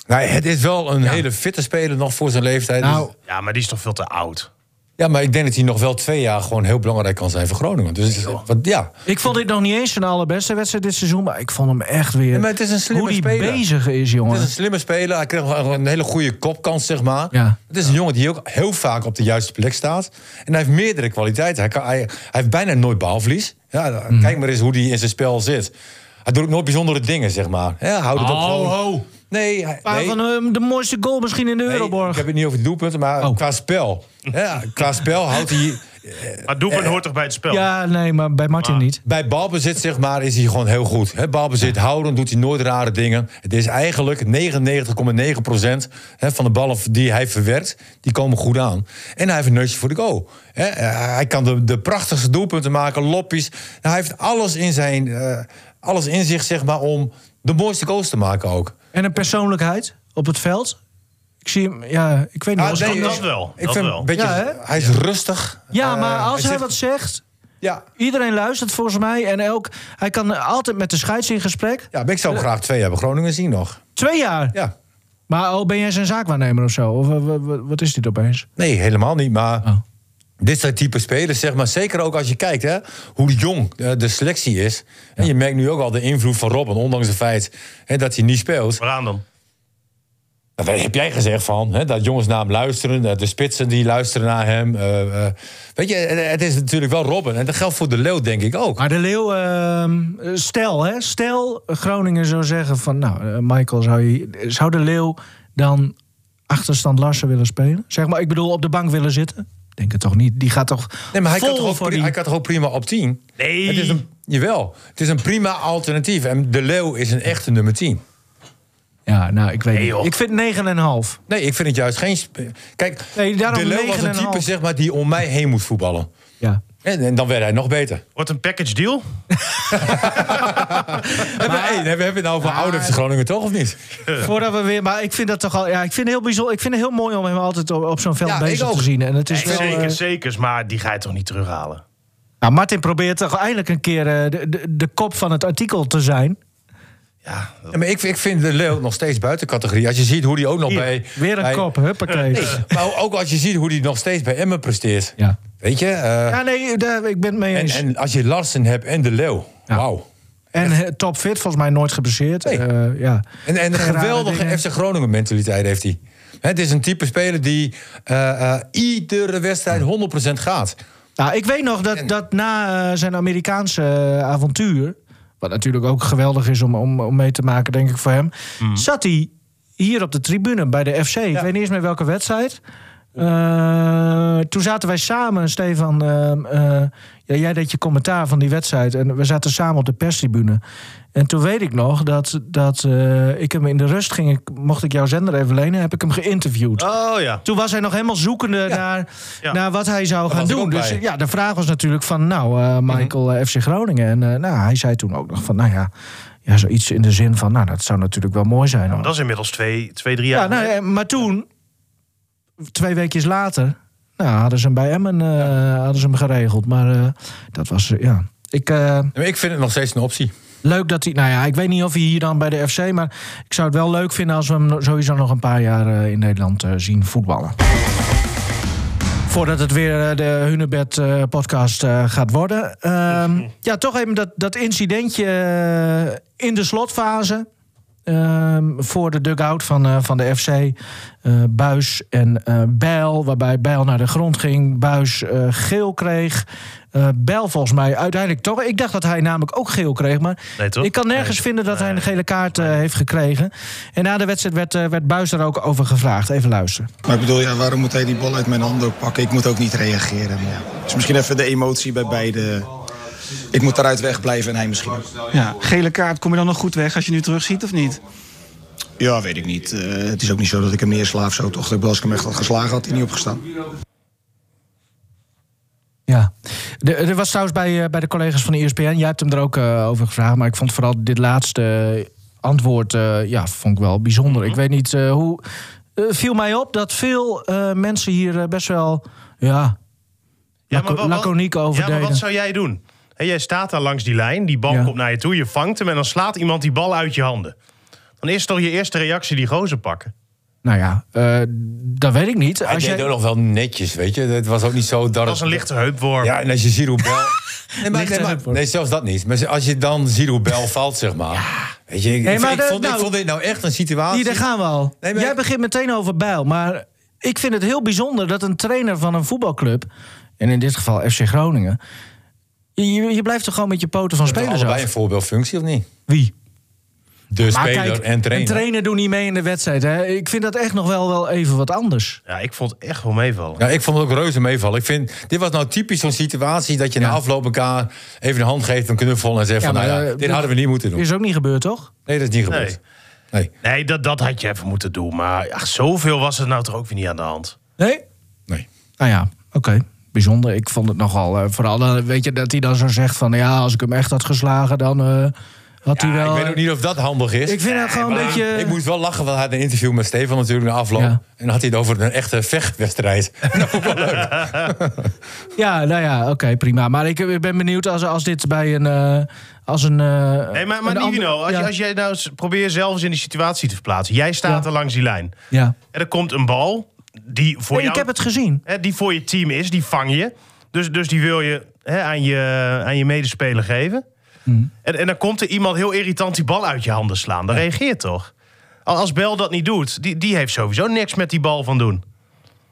Speaker 3: Nee, het is wel een hele fitte speler nog voor zijn leeftijd.
Speaker 2: Nou,
Speaker 3: Dus-
Speaker 4: Ja, maar die is toch veel te oud.
Speaker 3: ja, maar ik denk dat hij nog wel twee jaar gewoon heel belangrijk kan zijn voor Groningen. Dus wat, ja.
Speaker 2: ik vond dit nog niet eens zijn allerbeste wedstrijd dit seizoen. Maar ik vond hem echt weer...
Speaker 3: maar het is een slimme
Speaker 2: hoe die
Speaker 3: speler.
Speaker 2: bezig is,
Speaker 3: Het is
Speaker 2: jongen.
Speaker 3: een slimme speler. Hij kreeg wel een hele goede kopkans, zeg maar.
Speaker 2: Ja.
Speaker 3: Het is een jongen die ook heel vaak op de juiste plek staat. En hij heeft meerdere kwaliteiten. Hij, kan, hij, hij heeft bijna nooit balverlies. Ja,
Speaker 2: Mhm.
Speaker 3: Kijk maar eens hoe hij in zijn spel zit. Hij doet ook nooit bijzondere dingen, zeg maar. Ja, houdt het ook
Speaker 2: Ho,
Speaker 3: gewoon...
Speaker 2: ho.
Speaker 3: Nee, hij-
Speaker 2: Maar
Speaker 3: nee.
Speaker 2: Oh, van eh, de mooiste goal misschien in de
Speaker 3: Nee, ik
Speaker 2: Euroborg.
Speaker 3: heb het niet over de doelpunten, maar
Speaker 2: Oh.
Speaker 3: qua spel. Ja, qua spel houdt hij...
Speaker 4: Maar Doepen hoort toch bij het spel?
Speaker 2: Ja, nee, maar bij Martin niet.
Speaker 3: Bij balbezit zeg maar, is hij gewoon heel goed. Hè, balbezit houden, doet hij nooit rare dingen. Het is eigenlijk 99,9% hè, van de ballen die hij verwerkt, die komen goed aan. En hij heeft een neusje voor de goal. Hè, eh, hij kan de, de prachtigste doelpunten maken, loppies. Hij heeft alles in, zijn, eh, alles in zich zeg maar, om de mooiste goals te maken ook.
Speaker 2: En een persoonlijkheid op het veld. Ik zie hem, ja, ik weet niet.
Speaker 3: Ah,
Speaker 2: als-
Speaker 3: nee,
Speaker 4: dat- dat wel,
Speaker 3: Ik
Speaker 4: dat
Speaker 3: vind
Speaker 4: wel.
Speaker 3: Een beetje,
Speaker 2: Ja, hè?
Speaker 3: hij is rustig.
Speaker 2: ja,
Speaker 3: Eh,
Speaker 2: maar als hij
Speaker 3: zit-
Speaker 2: wat zegt,
Speaker 3: Ja,
Speaker 2: iedereen luistert volgens mij. En elk, hij kan altijd met de scheids in gesprek.
Speaker 3: ja, maar ik zou hem graag twee hebben. Groningen zien nog.
Speaker 2: Twee jaar.
Speaker 3: Ja.
Speaker 2: Maar oh, ben jij zijn zaakwaarnemer of zo? Of eh, wa- wa- wat is dit opeens?
Speaker 3: Nee, helemaal niet. Maar
Speaker 2: Oh.
Speaker 3: dit zijn type spelers, zeg maar. Zeker ook als je kijkt hè, hoe jong eh, de selectie is. En je merkt nu ook al de invloed van Robben, ondanks het feit hè, dat hij niet speelt.
Speaker 4: Waaraan dan?
Speaker 3: Daar heb jij gezegd van, hè, dat jongens naar hem luisteren. eh, De spitsen die luisteren naar hem. eh, eh. weet je, eh, het is natuurlijk wel Robben. En dat geldt voor de Leeuw, denk ik ook.
Speaker 2: Maar de Leeuw, ehm, stel, hè, stel Groningen zou zeggen van... Nou, eh, Michael, zou, je, zou de Leeuw dan achterstand Larsen willen spelen? Zeg maar, ik bedoel, op de bank willen zitten? Denk het toch niet? Die gaat toch
Speaker 3: Nee, maar hij
Speaker 2: vol
Speaker 3: kan, toch ook
Speaker 2: voor
Speaker 3: pri-
Speaker 2: die...
Speaker 3: hij kan toch ook prima op 10?
Speaker 4: Nee.
Speaker 3: Het is een, jawel, het is een prima alternatief. En de Leeuw is een echte nummer 10.
Speaker 2: Ja, nou, ik weet
Speaker 4: Nee,
Speaker 2: niet.
Speaker 4: joh.
Speaker 2: Ik vind 9,5.
Speaker 3: Nee, ik vind het juist geen... sp- Kijk,
Speaker 2: Nee, daarom
Speaker 3: de Leeuw was een
Speaker 2: 9,5.
Speaker 3: type zeg maar, die om mij heen moet voetballen.
Speaker 2: Ja.
Speaker 3: En, en dan werd hij nog beter.
Speaker 4: Wordt een package deal?
Speaker 3: hebben, hey, hebben we hebben het nou over oude FC Groningen toch, of niet?
Speaker 2: Voordat we weer... Maar ik vind dat toch al... Ja, ik vind het heel bijzonder. Ik vind het heel mooi om hem altijd op, op zo'n veld
Speaker 3: Ja, ik
Speaker 2: bezig
Speaker 3: ook.
Speaker 2: te zien. En het is wel...
Speaker 4: zeker,
Speaker 2: eh,
Speaker 4: zeker. Maar die ga je toch niet terughalen?
Speaker 2: Nou, Martin probeert toch eindelijk een keer eh, de, de, de kop van het artikel te zijn.
Speaker 4: Ja, dat-
Speaker 3: Ja, maar ik, ik vind de Leeuw nog steeds buiten categorie. Als je ziet hoe die ook nog
Speaker 2: Hier,
Speaker 3: bij...
Speaker 2: weer een
Speaker 3: bij-
Speaker 2: kop, huppakee.
Speaker 3: Nee, maar ook als je ziet hoe die nog steeds bij Emmen presteert.
Speaker 2: Ja.
Speaker 3: Weet je? eh,
Speaker 2: ja, nee, daar, ik ben het mee
Speaker 3: en,
Speaker 2: eens.
Speaker 3: en als je Larsen hebt en de Leeuw.
Speaker 2: Ja.
Speaker 3: Wauw.
Speaker 2: En eh, topfit, volgens mij nooit geblesseerd.
Speaker 3: Nee.
Speaker 2: Eh, ja.
Speaker 3: En, en een
Speaker 2: Gerade
Speaker 3: geweldige
Speaker 2: dingen.
Speaker 3: FC Groningen mentaliteit heeft hij. Hè, Het is een type speler die eh, eh, iedere wedstrijd 100% gaat.
Speaker 2: Nou, ik weet nog dat, dat na eh, zijn Amerikaanse eh, avontuur... wat natuurlijk ook geweldig is om, om, om mee te maken, denk ik, voor hem... zat hij hier op de tribune bij de FC. Ik weet niet eens meer welke wedstrijd. Eh, toen zaten wij samen, Stefan... ehm, eh, ja, jij deed je commentaar van die wedstrijd... en we zaten samen op de perstribune. En toen weet ik nog dat, dat eh, ik hem in de rust ging... ik- mocht ik jouw zender even lenen, heb ik hem geïnterviewd.
Speaker 4: Oh ja.
Speaker 2: Toen was hij nog helemaal zoekende naar,
Speaker 4: Ja.
Speaker 2: naar wat hij zou
Speaker 3: Daar
Speaker 2: gaan
Speaker 3: was ik
Speaker 2: doen.
Speaker 3: ook
Speaker 2: Dus
Speaker 3: bij.
Speaker 2: ja, de vraag was natuurlijk van, nou, eh, Michael eh, FC Groningen. En eh, nou, hij zei toen ook nog van, nou ja, ja, zoiets in de zin van, nou, dat zou natuurlijk wel mooi zijn. hoor.
Speaker 4: Dat is inmiddels twee, twee drie jaar.
Speaker 2: ja, nou,
Speaker 4: geleden.
Speaker 2: eh, maar toen, twee weekjes later, nou, hadden ze hem bij Emmen eh, hadden ze hem geregeld. Maar eh, dat was, eh, ja, ik... eh,
Speaker 3: Maar Ik vind het nog steeds een optie.
Speaker 2: Leuk dat hij. Nou ja, ik weet niet of hij hier dan bij de FC. Maar ik zou het wel leuk vinden als we hem sowieso nog een paar jaar eh, in Nederland eh, zien voetballen. Voordat het weer eh, de Hunebed eh, podcast eh, gaat worden. Ehm,
Speaker 4: Mhm.
Speaker 2: ja, toch even dat, dat incidentje eh, in de slotfase. ehm, voor de dugout van, eh, van de FC. Eh, Buis en eh Bijl, waarbij Bijl naar de grond ging. Buis eh, geel kreeg. Eh Bijl volgens mij uiteindelijk toch. Ik dacht dat hij namelijk ook geel kreeg. Maar
Speaker 4: Nee, toch?
Speaker 2: ik kan nergens
Speaker 4: Nee.
Speaker 2: vinden dat hij een
Speaker 4: Nee.
Speaker 2: gele kaart eh, heeft gekregen. En na de wedstrijd werd, eh, werd Buis daar ook over gevraagd. Even luisteren.
Speaker 5: Maar ik bedoel, ja, waarom moet hij die bal uit mijn handen ook pakken? Ik moet ook niet reageren. Maar ja. Dus misschien even de emotie bij beide. Ik moet daaruit wegblijven en hij misschien ook.
Speaker 6: Ja, gele kaart, kom je dan nog goed weg als je nu terugziet of niet?
Speaker 5: Ja, weet ik niet. Eh, het is ook niet zo dat ik hem neersla of zo. Toch, Ik bedoel, als ik hem echt had geslagen, had hij niet opgestaan.
Speaker 2: Ja, De- er was trouwens bij, eh, bij de collega's van de ESPN. Jij hebt hem er ook eh, over gevraagd. Maar ik vond vooral dit laatste antwoord eh, ja, vond ik wel bijzonder.
Speaker 3: Mhm.
Speaker 2: Ik weet niet eh, hoe. eh, viel mij op dat veel eh, mensen hier eh, best wel. Ja,
Speaker 4: Ja, maar
Speaker 2: laco-
Speaker 4: wat- wat-
Speaker 2: laconiek over
Speaker 4: Ja, maar
Speaker 2: deden.
Speaker 4: wat zou jij doen? Hé, jij staat daar langs die lijn, die bal
Speaker 2: Ja.
Speaker 4: komt naar je toe, je vangt hem en dan slaat iemand die bal uit je handen. Dan is toch je eerste reactie die gozer pakken?
Speaker 2: Nou ja, eh, dat weet ik niet.
Speaker 3: Hij
Speaker 2: Als
Speaker 3: deed ook
Speaker 2: jij...
Speaker 3: nog wel netjes, weet je. Het was ook niet zo dat
Speaker 4: Dat was een lichte heupworm.
Speaker 3: Ja, en als je ziet hoe Bel... Nee, maar, nee, maar-
Speaker 2: heup, hoor.
Speaker 3: nee, zelfs dat niet. Maar als je dan ziet hoe Bel valt, zeg maar. Weet je, ik,
Speaker 2: Nee,
Speaker 3: ik-
Speaker 2: maar
Speaker 3: ik
Speaker 2: de-
Speaker 3: vond, ik
Speaker 2: nou-
Speaker 3: vond dit nou echt een situatie...
Speaker 2: Hier, daar gaan we al.
Speaker 3: Nee, maar-
Speaker 2: Jij begint meteen over bijl. Maar ik vind het heel bijzonder dat een trainer van een voetbalclub. En in dit geval FC Groningen. Je, je blijft er gewoon met je poten van spelers
Speaker 3: Allebei
Speaker 2: af.
Speaker 3: een voorbeeldfunctie, of niet?
Speaker 2: Wie?
Speaker 3: De
Speaker 2: Maar
Speaker 3: speler
Speaker 2: kijk,
Speaker 3: en trainer.
Speaker 2: Een trainer doet niet mee in de wedstrijd. Hè? Ik vind dat echt nog wel, wel even wat anders.
Speaker 4: Ja, ik vond het echt wel meevallen.
Speaker 3: Ja, ik vond het ook reuze meevallen. Ik vind, dit was nou typisch zo'n situatie dat je na afloop elkaar even een hand geeft, een knuffel en zegt
Speaker 2: Ja,
Speaker 3: van,
Speaker 2: maar,
Speaker 3: nou ja,
Speaker 2: eh,
Speaker 3: dit
Speaker 2: dat-
Speaker 3: hadden we niet moeten doen.
Speaker 2: Is ook niet gebeurd, toch?
Speaker 3: Nee, dat is niet gebeurd. Nee.
Speaker 4: Nee, dat, dat had je even moeten doen. Maar ach, zoveel was het nou toch ook weer niet aan de hand.
Speaker 2: Nee?
Speaker 3: nee.
Speaker 2: Nou ja, oké. Bijzonder. Ik vond het nogal. eh, vooral eh, weet je dat hij dan zo zegt van ja, als ik hem echt had geslagen, dan eh, had hij
Speaker 3: Ja,
Speaker 2: wel. eh,
Speaker 3: ik weet ook niet of dat handig is.
Speaker 2: Ik vind dat gewoon een beetje.
Speaker 3: Ik moest wel lachen, want hij had een interview met Stefan natuurlijk na afloop.
Speaker 2: Ja.
Speaker 3: En dan had hij het over een echte vechtwedstrijd. Dat vond ik wel leuk.
Speaker 2: Ja, nou ja, oké, prima. Maar ik eh, ben benieuwd als, als dit bij een. eh, als een eh,
Speaker 4: Nee, maar, maar
Speaker 2: een ander-
Speaker 4: Nivino, als, je-
Speaker 2: ja,
Speaker 4: als jij nou eens- probeer jezelf eens in die situatie te verplaatsen. Jij staat
Speaker 2: Ja.
Speaker 4: er langs die lijn.
Speaker 2: ja.
Speaker 4: En er komt een bal die voor,
Speaker 2: Nee,
Speaker 4: jou,
Speaker 2: ik heb het gezien.
Speaker 4: hè, die voor je team is, die vang je. Dus, dus die wil je, hè, aan je aan je medespeler geven.
Speaker 2: Mhm.
Speaker 4: En, en dan komt er iemand heel irritant die bal uit je handen slaan. Dan reageert toch? Al- Als Bel dat niet doet, die, die heeft sowieso niks met die bal van doen.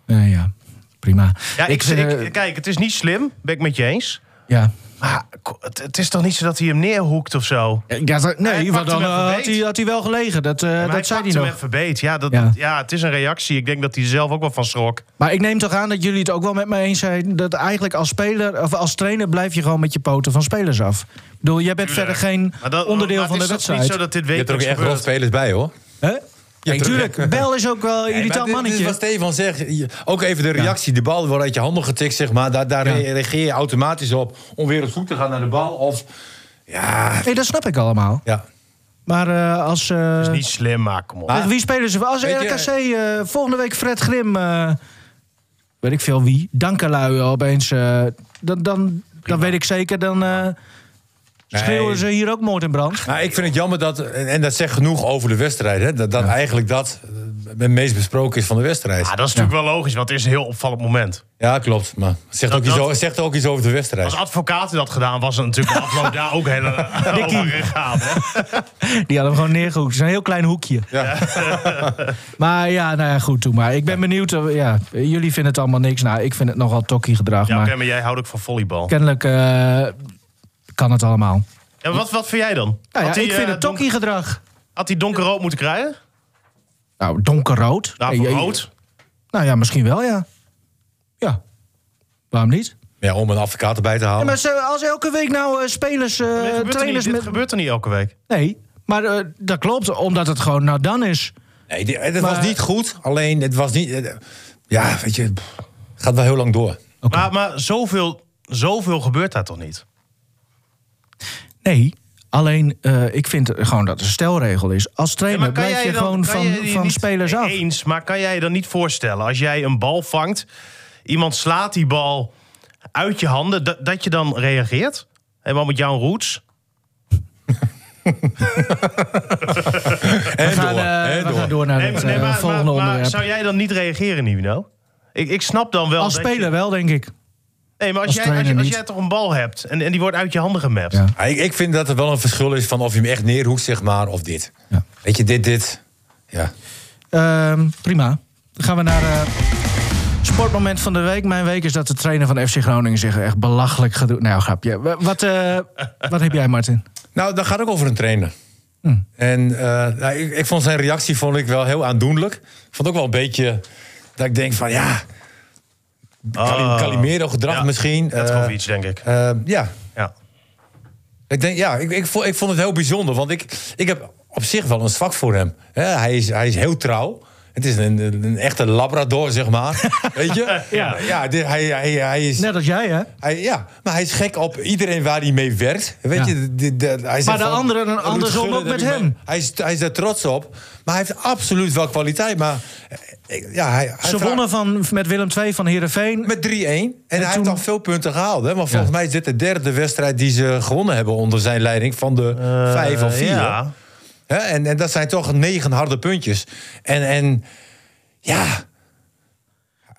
Speaker 2: Eh, ja, prima.
Speaker 4: Ja, ik,
Speaker 2: vind, eh,
Speaker 4: ik- kijk, het is niet slim, ben ik met je eens.
Speaker 2: ja.
Speaker 4: Maar ko- het, het is toch niet zo dat hij hem neerhoekt of zo?
Speaker 2: Ik dacht, dat- Eh, nee,
Speaker 4: Hij
Speaker 2: want
Speaker 4: pakt
Speaker 2: dan
Speaker 4: hem
Speaker 2: eh,
Speaker 4: even
Speaker 2: had
Speaker 4: beet.
Speaker 2: hij, had hij wel gelegen. Dat, eh,
Speaker 4: Maar
Speaker 2: dat
Speaker 4: hij
Speaker 2: zei
Speaker 4: pakt
Speaker 2: hij
Speaker 4: hem
Speaker 2: nog.
Speaker 4: even beet. Ja, dat,
Speaker 2: Ja.
Speaker 4: dat- ja, het is een reactie. Ik denk dat hij er zelf ook wel van schrok.
Speaker 2: Maar ik neem toch aan dat jullie het ook wel met me eens zijn... dat eigenlijk als speler of als trainer blijf je gewoon met je poten van spelers af. Ik bedoel, jij bent verder geen
Speaker 4: Maar dat-
Speaker 2: onderdeel
Speaker 4: maar
Speaker 2: van de
Speaker 4: Het is toch niet
Speaker 2: wedstrijd.
Speaker 4: zo dat dit
Speaker 3: Je hebt er ook
Speaker 4: wekelijks
Speaker 3: echt wel
Speaker 4: gebeurt.
Speaker 3: spelers bij, hoor.
Speaker 2: Hè? Nee,
Speaker 3: terug-
Speaker 2: tuurlijk, Bel is ook wel een
Speaker 3: Nee, maar
Speaker 2: irritant
Speaker 3: dit- Dit is
Speaker 2: mannetje.
Speaker 3: wat Stefan zegt. Je- Ook even de reactie. De bal wordt uit je handen getikt, zeg maar. Daar, daar
Speaker 2: Ja.
Speaker 3: re- reageer je automatisch op. Om weer op zoek te gaan naar de bal. Of, ja...
Speaker 2: Nee, dat snap ik allemaal.
Speaker 3: ja.
Speaker 2: Maar eh, als... eh,
Speaker 4: Dat is niet slim, maar kom op.
Speaker 3: Maar-
Speaker 2: Wie spelen ze? Als
Speaker 3: Ah. Weet je-
Speaker 2: RKC eh, volgende week Fred Grim... eh, weet ik veel wie, Dankelui opeens... eh, dan, dan Dat weet ik zeker. Dan eh, schreeuwen ze hier ook moord en brand.
Speaker 3: Nou, ik vind het jammer dat, en en dat zegt genoeg over de wedstrijd, hè, dat, dat eigenlijk dat eh, het meest besproken is van de wedstrijd.
Speaker 4: Ah, dat is natuurlijk wel logisch, want het is een heel opvallend moment.
Speaker 3: Ja, klopt. Maar het zegt,
Speaker 4: Dat-
Speaker 3: ook iets
Speaker 4: dat-
Speaker 3: over, zegt ook iets over de wedstrijd.
Speaker 4: Als advocaten dat gedaan, was het natuurlijk de afloop daar ook heel over gegaan. hè.
Speaker 2: Die hadden we gewoon neergehoekt. Het is een heel klein hoekje.
Speaker 3: Ja.
Speaker 2: Maar ja, nou ja, goed, doe maar. Ik ben benieuwd. eh, Ja, jullie vinden het allemaal niks. Nou, ik vind het nogal tokkie gedrag.
Speaker 4: Ja,
Speaker 2: maar
Speaker 4: oké, maar jij houdt ook van volleybal.
Speaker 2: kennelijk eh, kan het allemaal.
Speaker 4: Ja, wat, wat vind jij dan?
Speaker 2: Nou ja,
Speaker 4: hij,
Speaker 2: ik vind
Speaker 4: eh,
Speaker 2: het
Speaker 4: donker-
Speaker 2: tokkie gedrag.
Speaker 4: Had hij donkerrood moeten krijgen?
Speaker 2: Nou, donkerrood.
Speaker 4: Nou,
Speaker 2: Eh,
Speaker 4: voor
Speaker 2: je-
Speaker 4: rood.
Speaker 2: Nou ja, misschien wel, ja. Ja. Waarom niet?
Speaker 3: ja, om een advocaat erbij te halen.
Speaker 2: maar ze- als elke week nou eh, spelers, eh,
Speaker 4: Dit gebeurt, er niet,
Speaker 2: trainers
Speaker 4: dit
Speaker 2: met...
Speaker 4: gebeurt er niet elke week.
Speaker 2: Nee, maar eh, dat klopt, omdat het gewoon nou dan is.
Speaker 3: Nee, die- het
Speaker 2: Maar-
Speaker 3: was niet goed, alleen het was niet... eh, Ja, weet je, pff, het gaat wel heel lang door.
Speaker 4: Maar, maar zoveel, zoveel gebeurt daar toch niet?
Speaker 2: Nee, alleen eh, ik vind gewoon dat het een stelregel is. Als
Speaker 4: Ja,
Speaker 2: trainer blijf je,
Speaker 4: dan-
Speaker 2: gewoon
Speaker 4: kan
Speaker 2: van,
Speaker 4: je je
Speaker 2: van
Speaker 4: niet
Speaker 2: spelers af.
Speaker 4: Eens, maar kan jij je dan niet voorstellen als jij een bal vangt, iemand slaat die bal uit je handen, dat, dat je dan reageert? Helemaal met jouw roots?
Speaker 3: En
Speaker 2: We gaan,
Speaker 3: door.
Speaker 2: eh,
Speaker 3: en
Speaker 2: we
Speaker 3: door.
Speaker 2: gaan door naar
Speaker 4: Nee,
Speaker 2: het
Speaker 4: maar- nee,
Speaker 2: eh,
Speaker 4: maar-
Speaker 2: volgende
Speaker 4: maar- maar
Speaker 2: onderwerp.
Speaker 4: zou jij dan niet reageren, Nivino? Ik, ik snap dan wel.
Speaker 2: Als
Speaker 4: dat je-
Speaker 2: speler wel, denk ik.
Speaker 4: nee, maar als,
Speaker 2: als
Speaker 4: jij, als,
Speaker 2: trainer
Speaker 4: als
Speaker 2: niet.
Speaker 4: jij toch een bal hebt en, en die wordt uit je handen gemapt.
Speaker 2: Ja.
Speaker 3: Ja, ik, ik vind dat er wel een verschil is van of je hem echt neerhoekt, zeg maar, of dit.
Speaker 2: Ja.
Speaker 3: Weet je, dit, dit. Ja.
Speaker 2: Ehm, prima. Dan gaan we naar eh, sportmoment van de week. Mijn week is dat de trainer van FC Groningen zich echt belachelijk gaat doen. Nou, grapje. Wa- Wat, eh, wat heb jij, Martin?
Speaker 3: Nou, dat gaat ook over een trainer.
Speaker 2: Hmm.
Speaker 3: En eh, nou, ik, ik vond zijn reactie vond ik wel heel aandoenlijk. Ik vond ook wel een beetje dat ik denk van ja, Cali-
Speaker 4: Oh.
Speaker 3: Calimero gedrag
Speaker 4: Ja,
Speaker 3: misschien.
Speaker 4: Dat
Speaker 3: eh,
Speaker 4: gaf iets, denk ik.
Speaker 3: eh, ja,
Speaker 4: Ja.
Speaker 3: ik denk ja, ik, ik, vond, ik vond het heel bijzonder, want ik, ik heb op zich wel een zwak voor hem. Hè, hij, is, hij is heel trouw. Het is een, een, een echte labrador, zeg maar. Weet je?
Speaker 4: Ja.
Speaker 3: ja dit- hij, hij, hij is...
Speaker 2: Net als jij, hè?
Speaker 3: Hij, ja, maar hij is gek op iedereen waar hij mee werkt. Weet
Speaker 2: Ja.
Speaker 3: je, de, de, de- hij zegt
Speaker 2: Maar de
Speaker 3: van,
Speaker 2: anderen en
Speaker 3: Ruud
Speaker 2: andersom
Speaker 3: Gullit,
Speaker 2: ook
Speaker 3: dat
Speaker 2: met
Speaker 3: ik
Speaker 2: hem.
Speaker 3: ben- Hij is, hij is daar trots op. Maar hij heeft absoluut wel kwaliteit. Maar eh, ik- ja, hij, hij
Speaker 2: Ze
Speaker 3: vraagt-
Speaker 2: wonnen van, met Willem II van Heerenveen.
Speaker 3: met 3-1. En, hij
Speaker 2: toen-
Speaker 3: heeft al veel punten gehaald. Hè? Maar volgens mij is dit de derde wedstrijd die ze gewonnen hebben onder zijn leiding van de vijf of vier.
Speaker 4: Eh, ja.
Speaker 3: Hè? En, en dat zijn toch negen harde puntjes. En, en ja.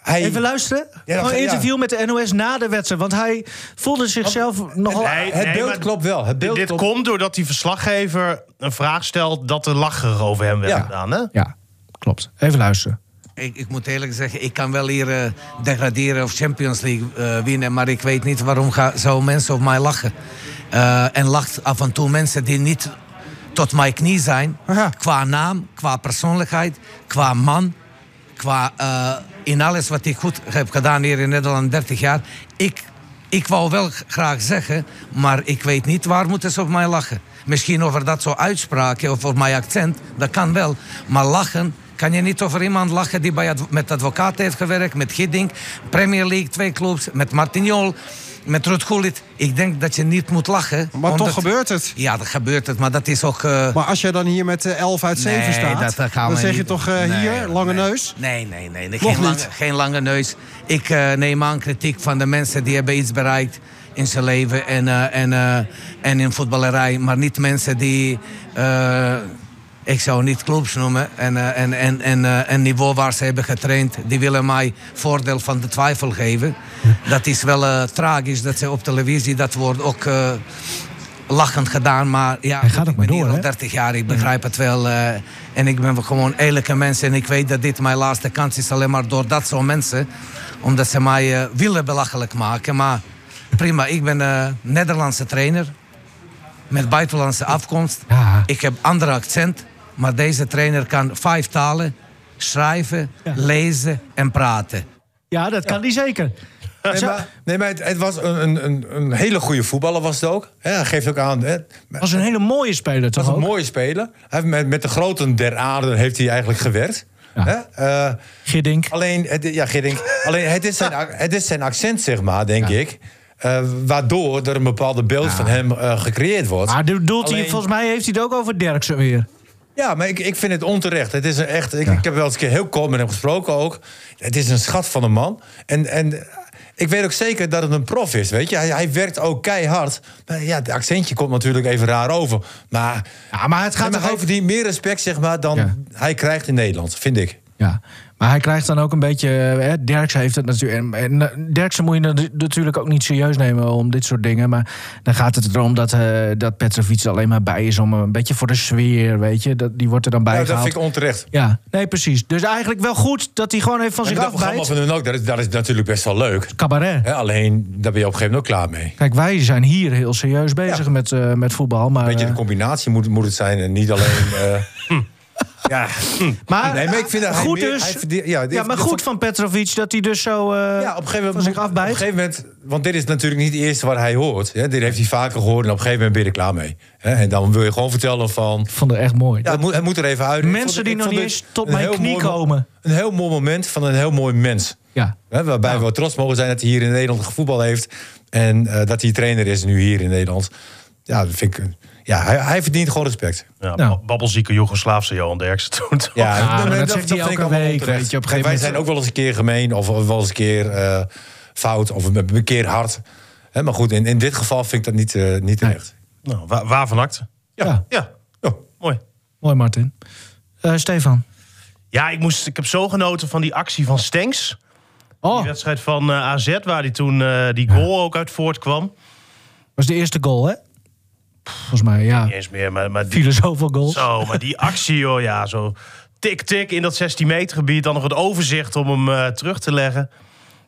Speaker 3: Hij,
Speaker 2: Even luisteren.
Speaker 3: Ja, dat
Speaker 2: Oh,
Speaker 3: ga-
Speaker 2: een
Speaker 3: ja.
Speaker 2: interview met de NOS na de wedstrijd. Want hij voelde zichzelf nogal...
Speaker 4: nee,
Speaker 3: het beeld
Speaker 4: maar
Speaker 3: klopt wel. Het beeld
Speaker 4: dit
Speaker 3: klopt.
Speaker 4: komt doordat die verslaggever een vraag stelt dat er lacher over hem werd
Speaker 3: Ja.
Speaker 4: gedaan. Hè?
Speaker 2: Ja, klopt. Even luisteren.
Speaker 7: Ik, ik moet eerlijk zeggen, ik kan wel hier eh, degraderen of Champions League eh, winnen, maar ik weet niet waarom ga, zo mensen op mij lachen. Eh, en lacht af en toe mensen die niet tot mijn knie zijn,
Speaker 2: Aha.
Speaker 7: qua naam, qua persoonlijkheid, qua man, qua eh, in alles wat ik goed heb gedaan hier in Nederland 30 jaar. Ik, ik wou wel g- graag zeggen, maar ik weet niet waar moeten ze op mij lachen. Misschien over dat soort uitspraken of over mijn accent, dat kan wel. Maar lachen, kan je niet over iemand lachen die bij adv- met advocaat heeft gewerkt, met Gidding, Premier League, twee clubs, met Martignol, met Ruud Gullit. Ik denk dat je niet moet lachen.
Speaker 8: Maar
Speaker 7: omdat-
Speaker 8: toch gebeurt het.
Speaker 7: Ja, dat gebeurt het, maar dat is ook... eh,
Speaker 8: Maar als jij dan hier met eh, 11 uit 7
Speaker 7: Nee,
Speaker 8: staat,
Speaker 7: dat, dat gaan
Speaker 8: dan
Speaker 7: we
Speaker 8: zeg je
Speaker 7: niet.
Speaker 8: toch eh,
Speaker 7: Nee,
Speaker 8: hier, lange
Speaker 7: nee.
Speaker 8: neus.
Speaker 7: Nee, nee, nee. nee.
Speaker 8: Nog
Speaker 7: Geen, lange,
Speaker 8: niet.
Speaker 7: geen lange neus. Ik eh, neem aan kritiek van de mensen die hebben iets bereikt in zijn leven en, eh, en, eh, en in voetballerij. Maar niet mensen die, eh, ik zou niet clubs noemen, en, eh, en, en, en, eh, en niveau waar ze hebben getraind. Die willen mij voordeel van de twijfel geven. Dat is wel eh, tragisch dat ze op televisie dat wordt ook... eh, lachend gedaan, maar ja,
Speaker 2: Hij gaat
Speaker 7: goed,
Speaker 2: ook
Speaker 7: ik
Speaker 2: maar
Speaker 7: ben hier
Speaker 2: door,
Speaker 7: al
Speaker 2: hè?
Speaker 7: 30 jaar, ik begrijp het wel. eh, en ik ben gewoon eerlijke mensen. En ik weet dat dit mijn laatste kans is, alleen maar door dat soort mensen. Omdat ze mij eh, willen belachelijk maken. Maar prima, ik ben eh Nederlandse trainer. Met buitenlandse afkomst.
Speaker 2: Ja.
Speaker 7: Ik heb ander accent. Maar deze trainer kan vijf talen. Schrijven, lezen en praten.
Speaker 2: Ja, dat kan hij zeker.
Speaker 3: Nee, maar, nee, maar het, het was een, een- een, een hele goede voetballer was het ook. Ja, hij geeft ook aan. Hè,
Speaker 2: was een hele mooie speler,
Speaker 3: Dat
Speaker 2: toch
Speaker 3: was een
Speaker 2: ook?
Speaker 3: mooie speler. Hij heeft met, met de groten der aarde heeft hij eigenlijk gewerkt.
Speaker 2: Ja.
Speaker 3: Hè? Eh,
Speaker 2: Giddink.
Speaker 3: alleen, het, ja, Gidding. alleen het is, zijn, ac- het is zijn accent, zeg maar, denk ik. eh, waardoor er een bepaalde beeld van hem eh, gecreëerd wordt.
Speaker 2: Maar bedoelt hij,
Speaker 3: Alleen-
Speaker 2: volgens mij heeft hij het ook over Derksen weer.
Speaker 3: Ja, maar ik, ik vind het onterecht. Het is een echt, ik, ik heb wel eens een keer heel kort met hem gesproken ook. Het is een schat van een man. En, en ik weet ook zeker dat het een prof is, weet je. Hij, hij werkt ook keihard. Maar ja, het accentje komt natuurlijk even raar over. Maar,
Speaker 2: Ja, maar het gaat
Speaker 3: nee, maar
Speaker 2: toch
Speaker 3: hij
Speaker 2: over-
Speaker 3: verdient meer respect, zeg maar, dan
Speaker 2: Ja.
Speaker 3: hij krijgt in Nederland, vind ik.
Speaker 2: Ja, maar hij krijgt dan ook een beetje. eh, Hè, Derksen heeft het natuurlijk. En, en Derksen moet je nat- natuurlijk ook niet serieus nemen om dit soort dingen. Maar dan gaat het erom dat, eh dat Petrovic er alleen maar bij is om een beetje voor de sfeer, weet je. Dat, die wordt er dan bij
Speaker 3: Nou, dat
Speaker 2: gehaald.
Speaker 3: vind ik onterecht.
Speaker 2: Ja, nee, precies. Dus eigenlijk wel goed dat hij gewoon even van
Speaker 3: En
Speaker 2: zich
Speaker 3: dat programma
Speaker 2: afbijt.
Speaker 3: van hun ook, dat is, dat is natuurlijk best wel leuk.
Speaker 2: Cabaret.
Speaker 3: Hè, alleen, daar ben je op een gegeven moment ook klaar mee.
Speaker 2: Kijk, wij zijn hier heel serieus bezig met, eh, met voetbal. Maar,
Speaker 3: Weet je, de
Speaker 2: eh,
Speaker 3: combinatie moet, moet het zijn en niet alleen... eh, ja,
Speaker 2: maar,
Speaker 3: Nee, maar ik vind dat hij
Speaker 2: goed
Speaker 3: meer-
Speaker 2: dus.
Speaker 3: hij verdient- ja, dit-
Speaker 2: ja, maar
Speaker 3: dit-
Speaker 2: goed van Petrovic dat hij dus zo eh,
Speaker 3: ja, op een gegeven
Speaker 2: van
Speaker 3: moment.
Speaker 2: zich
Speaker 3: moet- Op een
Speaker 2: afbijt.
Speaker 3: gegeven moment, want dit is natuurlijk niet het eerste waar hij hoort. Hè? Dit heeft hij vaker gehoord en op een gegeven moment ben je er klaar mee. Hè? En dan wil je gewoon vertellen van.
Speaker 2: Ik vond het echt mooi.
Speaker 3: Ja, het moet, het moet er even uit. Ik
Speaker 2: Mensen
Speaker 3: vond het-
Speaker 2: die
Speaker 3: ik
Speaker 2: nog
Speaker 3: vond
Speaker 2: niet
Speaker 3: dit
Speaker 2: eens tot
Speaker 3: een
Speaker 2: mijn
Speaker 3: heel
Speaker 2: knie
Speaker 3: mooi mo-
Speaker 2: komen.
Speaker 3: Een heel mooi moment van een heel mooi mens.
Speaker 2: ja.
Speaker 3: Hè? Waarbij we wel trots mogen zijn dat hij hier in Nederland gevoetbal heeft. En eh, dat hij trainer is nu hier in Nederland. Ja, dat vind ik. Ja, hij, hij verdient gewoon respect.
Speaker 4: Ja,
Speaker 2: Nou.
Speaker 4: ba- Babbelzieke Joegoslaafse Johan Derksen toen. toch?
Speaker 3: Ja,
Speaker 2: maar dat zegt hij
Speaker 3: vind
Speaker 2: elke
Speaker 3: ik allemaal
Speaker 2: week,
Speaker 3: onterecht.
Speaker 2: weet je, op een gegeven
Speaker 3: Kijk, wij
Speaker 2: moment-
Speaker 3: zijn ook wel eens een keer gemeen of of wel eens een keer eh, fout of een, een keer hard. Hè, maar goed, in, in dit geval vind ik dat niet, eh, niet terecht.
Speaker 4: Nou, wa- waar van acte?
Speaker 2: Ja.
Speaker 4: Ja,
Speaker 2: Dus
Speaker 3: Ja.
Speaker 4: mooi.
Speaker 2: Mooi, Martin. Eh, Stefan.
Speaker 4: Ja, ik, moest, ik heb zo genoten van die actie van Stenks.
Speaker 2: Oh,
Speaker 4: Die
Speaker 2: dat
Speaker 4: wedstrijd van eh, AZ, waar die toen eh, die goal ook uit voortkwam.
Speaker 2: was de eerste goal, hè? Volgens mij, ja.
Speaker 4: Niet eens meer, maar, maar die,
Speaker 2: Vielen zoveel goals.
Speaker 4: zo, maar die actie, joh, ja, zo tik-tik in dat 16 meter gebied. Dan nog het overzicht om hem eh, terug te leggen.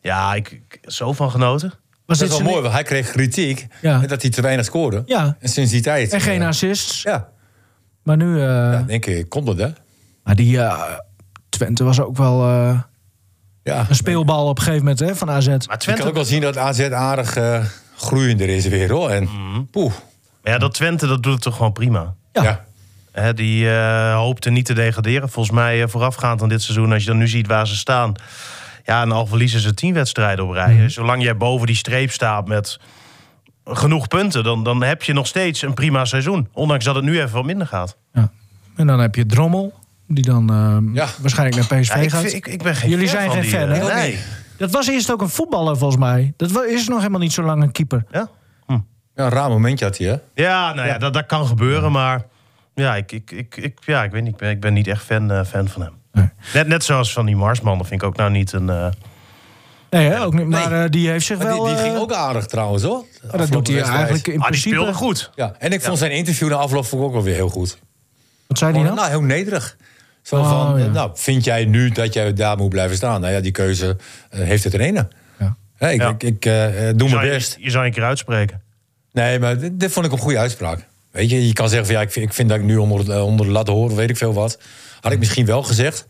Speaker 4: Ja, ik, ik zo van genoten.
Speaker 2: Was
Speaker 3: Dat is wel
Speaker 2: zijn-
Speaker 3: mooi, want hij kreeg kritiek
Speaker 2: Ja.
Speaker 3: dat hij te weinig scoorde.
Speaker 2: Ja.
Speaker 3: En sinds die tijd.
Speaker 2: En geen
Speaker 3: eh,
Speaker 2: assists.
Speaker 3: Ja,
Speaker 2: Maar nu... eh,
Speaker 3: ja in één keer komt het, hè?
Speaker 2: Maar die eh, Twente was ook wel eh,
Speaker 3: Ja.
Speaker 2: een speelbal op een gegeven moment hè, van AZ.
Speaker 4: Maar
Speaker 3: Je kan
Speaker 4: Twente,
Speaker 3: ook wel zien dat AZ aardig eh, groeiender is weer, hoor. En poeh.
Speaker 4: ja, dat Twente dat doet het toch gewoon prima.
Speaker 2: Ja.
Speaker 3: ja.
Speaker 4: Hè, die eh, hoopte niet te degraderen. Volgens mij eh, voorafgaand aan dit seizoen, als je dan nu ziet waar ze staan. Ja, en al verliezen ze tien wedstrijden op rij. Zolang jij boven die streep staat met genoeg punten, dan, dan heb je nog steeds een prima seizoen. Ondanks dat het nu even wat minder gaat.
Speaker 2: Ja. En dan heb je Drommel, die dan eh,
Speaker 3: Ja.
Speaker 2: waarschijnlijk naar PSV
Speaker 4: Ja, ik,
Speaker 2: gaat.
Speaker 4: vind- ik, ik ben geen
Speaker 2: Jullie
Speaker 4: fan
Speaker 2: zijn
Speaker 4: van
Speaker 2: geen
Speaker 4: die,
Speaker 2: fan,
Speaker 4: eh,
Speaker 2: hè?
Speaker 4: Nee.
Speaker 2: Dat was eerst ook een voetballer, volgens mij. Dat wa- is nog helemaal niet zo lang een keeper.
Speaker 4: Ja,
Speaker 3: ja, een raar momentje had hij, hè?
Speaker 4: ja, nou ja, Dat, dat kan gebeuren, maar ja, ik, ik, ik, ik, ja, ik weet niet. Ik ben, ik ben niet echt fan, eh, fan van hem.
Speaker 2: Nee.
Speaker 4: Net, net zoals van die Marsman, dat vind ik ook nou niet een... eh,
Speaker 2: Nee, hè, ook niet, maar eh, die heeft zich
Speaker 3: Maar
Speaker 2: wel...
Speaker 3: die, die
Speaker 2: eh, oh,
Speaker 3: ging ook aardig, trouwens, hoor.
Speaker 2: dat
Speaker 3: Afgelopen
Speaker 2: doet hij
Speaker 3: wedstrijd.
Speaker 2: eigenlijk in
Speaker 4: ah, die
Speaker 2: principe...
Speaker 4: speelde goed.
Speaker 3: Ja, en ik vond zijn interview na afloop vond ik ook wel weer heel goed.
Speaker 2: Wat zei hij
Speaker 3: Gewoon,
Speaker 2: dan?
Speaker 3: nou, heel nederig. Zo
Speaker 2: Oh,
Speaker 3: van, eh,
Speaker 2: ja.
Speaker 3: nou, vind jij nu dat jij daar moet blijven staan? Nou ja, die keuze eh, heeft het trainer.
Speaker 2: Ja.
Speaker 3: Hè, ik
Speaker 4: Ja.
Speaker 3: ik, ik eh, eh, doe
Speaker 4: Zou
Speaker 3: mijn
Speaker 4: je-
Speaker 3: best.
Speaker 4: je zou een keer uitspreken.
Speaker 3: Nee, maar dit, dit vond ik een goede uitspraak. Weet je, je kan zeggen van ja, ik vind, ik vind dat ik nu onder, eh, onder de lat hoor, weet ik veel wat. Had ik misschien wel gezegd.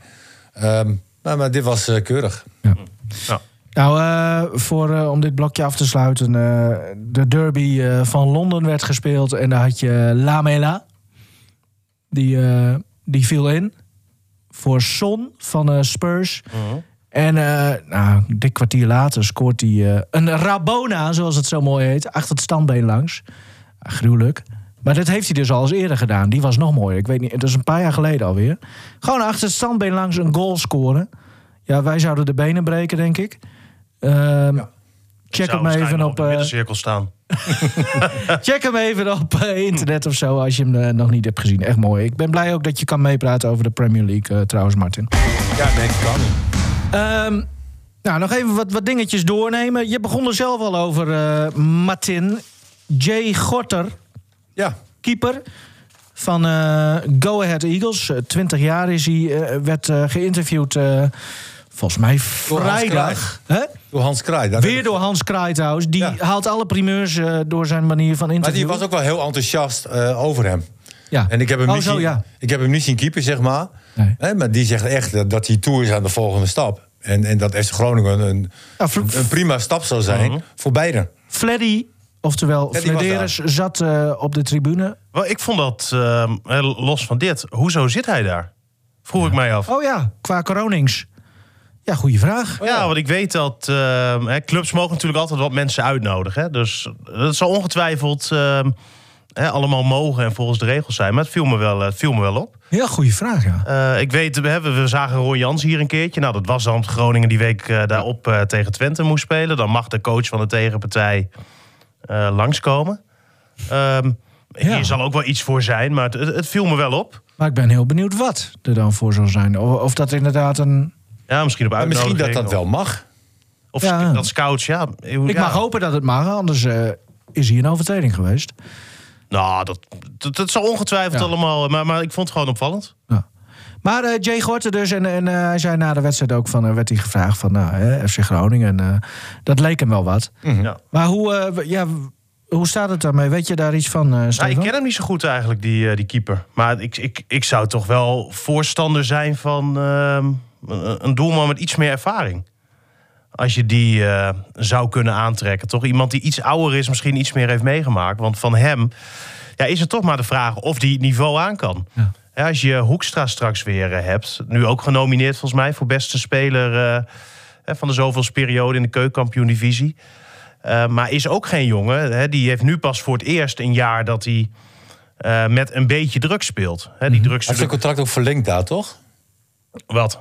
Speaker 3: Ehm, maar, maar dit was eh, keurig.
Speaker 2: Nou, eh, voor, eh, om dit blokje af te sluiten. eh, de derby eh, van Londen werd gespeeld. En daar had je Lamela. Die, eh, die viel in. Voor Son van eh, Spurs. En eh, nou, een dik kwartier later scoort hij eh, een Rabona, zoals het zo mooi heet. Achter het standbeen langs. Ah, gruwelijk. Maar dat heeft hij dus al eens eerder gedaan. Die was nog mooier. Ik weet niet, het is een paar jaar geleden alweer. Gewoon achter het standbeen langs een goal scoren. Ja, wij zouden de benen breken, denk ik. Ehm, Check hem, even op,
Speaker 4: de
Speaker 2: eh,
Speaker 4: middencirkel staan.
Speaker 2: check hem even op eh, internet of zo als je hem eh, nog niet hebt gezien. Echt mooi. Ik ben blij ook dat je kan meepraten over de Premier League eh, trouwens, Martin.
Speaker 3: Ja, nee, kan.
Speaker 2: Ehm, nou, nog even wat, wat dingetjes doornemen. Je begon er zelf al over, eh, Martin. Jay Gorter,
Speaker 3: Ja,
Speaker 2: keeper van eh, Go Ahead Eagles. Eh, 20 jaar is hij, eh, werd eh, geïnterviewd eh, volgens mij vrijdag. Hè?
Speaker 3: door Hans Kraai. Dat-
Speaker 2: Weer door Hans Kraai trouwens. Die
Speaker 3: Ja.
Speaker 2: haalt alle primeurs eh, door zijn manier van
Speaker 3: Maar die
Speaker 2: interviewen.
Speaker 3: was ook wel heel enthousiast eh, over hem.
Speaker 2: Ja.
Speaker 3: En ik heb hem,
Speaker 2: Oh,
Speaker 3: nu,
Speaker 2: zo,
Speaker 3: zien,
Speaker 2: ja.
Speaker 3: ik heb hem nu zien keeper, zeg maar.
Speaker 2: Nee.
Speaker 3: Hè, maar die zegt echt dat, dat hij toe is aan de volgende stap. En, en dat FC Groningen een,
Speaker 2: Ja, Fl-
Speaker 3: een prima stap zou zijn voor beiden.
Speaker 2: Fleddy, oftewel
Speaker 3: Fleddy was
Speaker 2: Flederis, zat eh, op de tribune.
Speaker 4: Wel, ik vond dat, ehm, eh, los van dit, hoezo zit hij daar? Vroeg ik mij af.
Speaker 2: Oh ja, qua Gronings. Ja, goede vraag.
Speaker 4: ja. want ik weet dat eh, ehm, hè, clubs mogen natuurlijk altijd wat mensen uitnodigen. Hè? Dus dat zal ongetwijfeld ehm, hè, allemaal mogen en volgens de regels zijn. Maar het viel me wel, eh, het viel me wel op.
Speaker 2: Heel goede vraag, ja.
Speaker 4: Eh, ik weet, we, hebben, we zagen Roy Jans hier een keertje. Nou, dat was dan omdat Groningen die week eh, daarop eh, tegen Twente moest spelen. Dan mag de coach van de tegenpartij eh, langskomen. Ehm
Speaker 2: Ja.
Speaker 4: Hier zal ook wel iets voor zijn, maar het, het het viel me wel op.
Speaker 2: Maar ik ben heel benieuwd wat er dan voor zou zijn. Of, of dat inderdaad een...
Speaker 4: Ja, misschien op
Speaker 3: Maar
Speaker 4: uitnodiging.
Speaker 3: misschien dat dat wel mag.
Speaker 4: Of
Speaker 2: Ja.
Speaker 4: dat scouts, ja.
Speaker 2: Ik mag hopen dat het mag, anders eh, is hier een overtreding geweest.
Speaker 4: Nou, dat, dat, dat zal ongetwijfeld
Speaker 2: Ja.
Speaker 4: allemaal. Maar, maar ik vond het gewoon opvallend.
Speaker 2: Ja. Maar eh, Jay Gorten dus, en, en eh, hij zei na de wedstrijd ook van, eh, werd hij gevraagd van nou, hè, FC Groningen. En, eh, dat leek hem wel wat.
Speaker 3: Hm. Mhm.
Speaker 4: Ja.
Speaker 2: Maar hoe, eh, w- ja, w- hoe staat het daarmee? Weet je daar iets van, eh
Speaker 4: Nou,
Speaker 2: Stefan?
Speaker 4: ik ken hem niet zo goed eigenlijk, die, eh, die keeper. Maar ik, ik, ik zou toch wel voorstander zijn van ehm, een een doelman met iets meer ervaring. Als je die eh, zou kunnen aantrekken. Toch iemand die iets ouder is, misschien iets meer heeft meegemaakt. Want van hem ja, is het toch maar de vraag of die het niveau aan kan.
Speaker 2: Ja.
Speaker 4: Ja, als je Hoekstra straks weer eh, hebt. Nu ook genomineerd volgens mij voor beste speler eh, hè, van de zoveelste periode in de keukenkampioen-divisie. Eh, maar is ook geen jongen. Hè, die heeft nu pas voor het eerst een jaar dat hij eh, met een beetje druk speelt. Hè, die druk is
Speaker 3: Heeft
Speaker 4: natuurlijk-
Speaker 3: zijn contract ook verlengd daar, toch?
Speaker 4: Wat?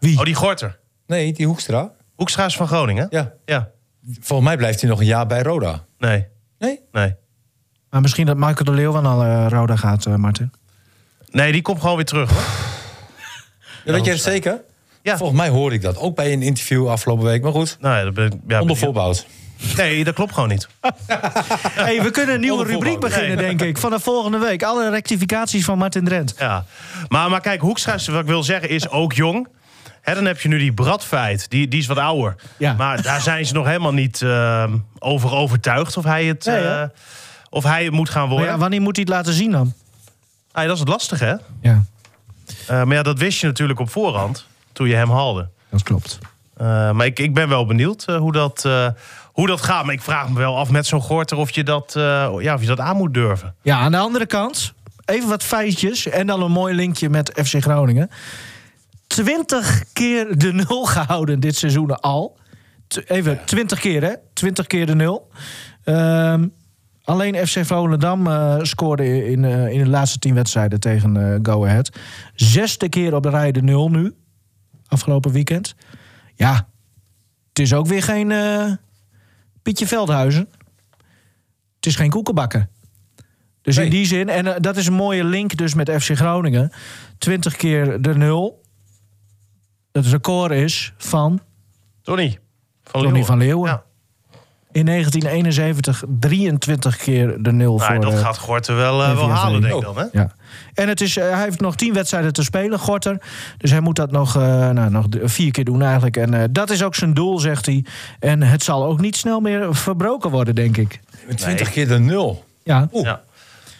Speaker 2: Wie?
Speaker 4: Oh, die Gorter.
Speaker 3: Nee, die Hoekstra.
Speaker 4: Hoekstra is van Groningen.
Speaker 3: Ja.
Speaker 4: Ja.
Speaker 3: Volgens mij blijft hij nog een jaar bij Roda.
Speaker 4: Nee.
Speaker 3: Nee?
Speaker 4: Nee.
Speaker 2: Maar misschien dat Michael de Leeuw wel naar eh, Roda gaat, eh, Martin.
Speaker 4: Nee, die komt gewoon weer terug. hoor.
Speaker 3: Ja, weet je het zeker?
Speaker 4: Ja.
Speaker 3: Volgens mij hoorde ik dat. Ook bij een interview afgelopen week. Maar goed,
Speaker 4: Nou, ja, dat ben ik- ja, ben
Speaker 3: onder
Speaker 4: ik-
Speaker 3: voorbehoud.
Speaker 4: Nee, dat klopt gewoon niet.
Speaker 2: Hey, we kunnen een nieuwe
Speaker 3: Onder
Speaker 2: rubriek
Speaker 3: voorbehoud.
Speaker 2: beginnen, denk ik. Vanaf volgende week. Alle rectificaties van Martin Drent.
Speaker 4: Ja. Maar, maar kijk, Hoekstra, is- wat ik wil zeggen, is ook jong. Hè, dan heb je nu die Bradfeit, die, die is wat ouder.
Speaker 2: Ja.
Speaker 4: Maar daar zijn ze nog helemaal niet ehm, over overtuigd of hij het,
Speaker 2: Nee, hè?
Speaker 4: eh, of hij het moet gaan
Speaker 2: Maar
Speaker 4: worden.
Speaker 2: ja, wanneer moet hij het laten zien dan?
Speaker 4: Ah, ja, dat is het lastige, hè?
Speaker 2: Ja,
Speaker 4: Eh, maar ja, dat wist je natuurlijk op voorhand, toen je hem haalde.
Speaker 2: dat klopt.
Speaker 4: Eh, maar ik, ik ben wel benieuwd eh, hoe, dat, eh, hoe dat gaat. Maar ik vraag me wel af met zo'n Gorter of je dat, eh, ja, of je dat aan moet durven.
Speaker 2: Ja, aan de andere kant, even wat feitjes en dan een mooi linkje met FC Groningen. Twintig keer de nul gehouden dit seizoen al. T- even, twintig keer hè? Twintig keer de nul. Ehm, alleen FC Volendam eh, scoorde in, eh, in de laatste tien wedstrijden tegen eh, Go Ahead. Zesde keer op de rij de nul nu, afgelopen weekend. Ja, het is ook weer geen eh, Pietje Veldhuizen. Het is geen koekenbakken. Dus in
Speaker 3: Nee.
Speaker 2: die zin, en eh, dat is een mooie link dus met FC Groningen. 20 keer de nul. Dat het record is van
Speaker 4: Tony van
Speaker 2: Tony
Speaker 4: Leeuwen.
Speaker 2: van Leeuwen.
Speaker 4: Ja.
Speaker 2: In 1971 23 keer de nul
Speaker 4: Nou,
Speaker 2: voor...
Speaker 4: dat
Speaker 2: eh,
Speaker 4: gaat Gorter wel, eh, wel
Speaker 2: VVV.
Speaker 4: halen, denk ik
Speaker 3: Oh.
Speaker 4: dan. Hè?
Speaker 2: ja. En het is, eh, hij heeft nog 10 wedstrijden te spelen, Gorter. Dus hij moet dat nog, eh, nou, nog d- vier keer doen eigenlijk. En eh, dat is ook zijn doel, zegt hij. En het zal ook niet snel meer verbroken worden, denk ik.
Speaker 3: 20 keer de nul.
Speaker 2: Ja,
Speaker 3: Oeh.
Speaker 4: Ja.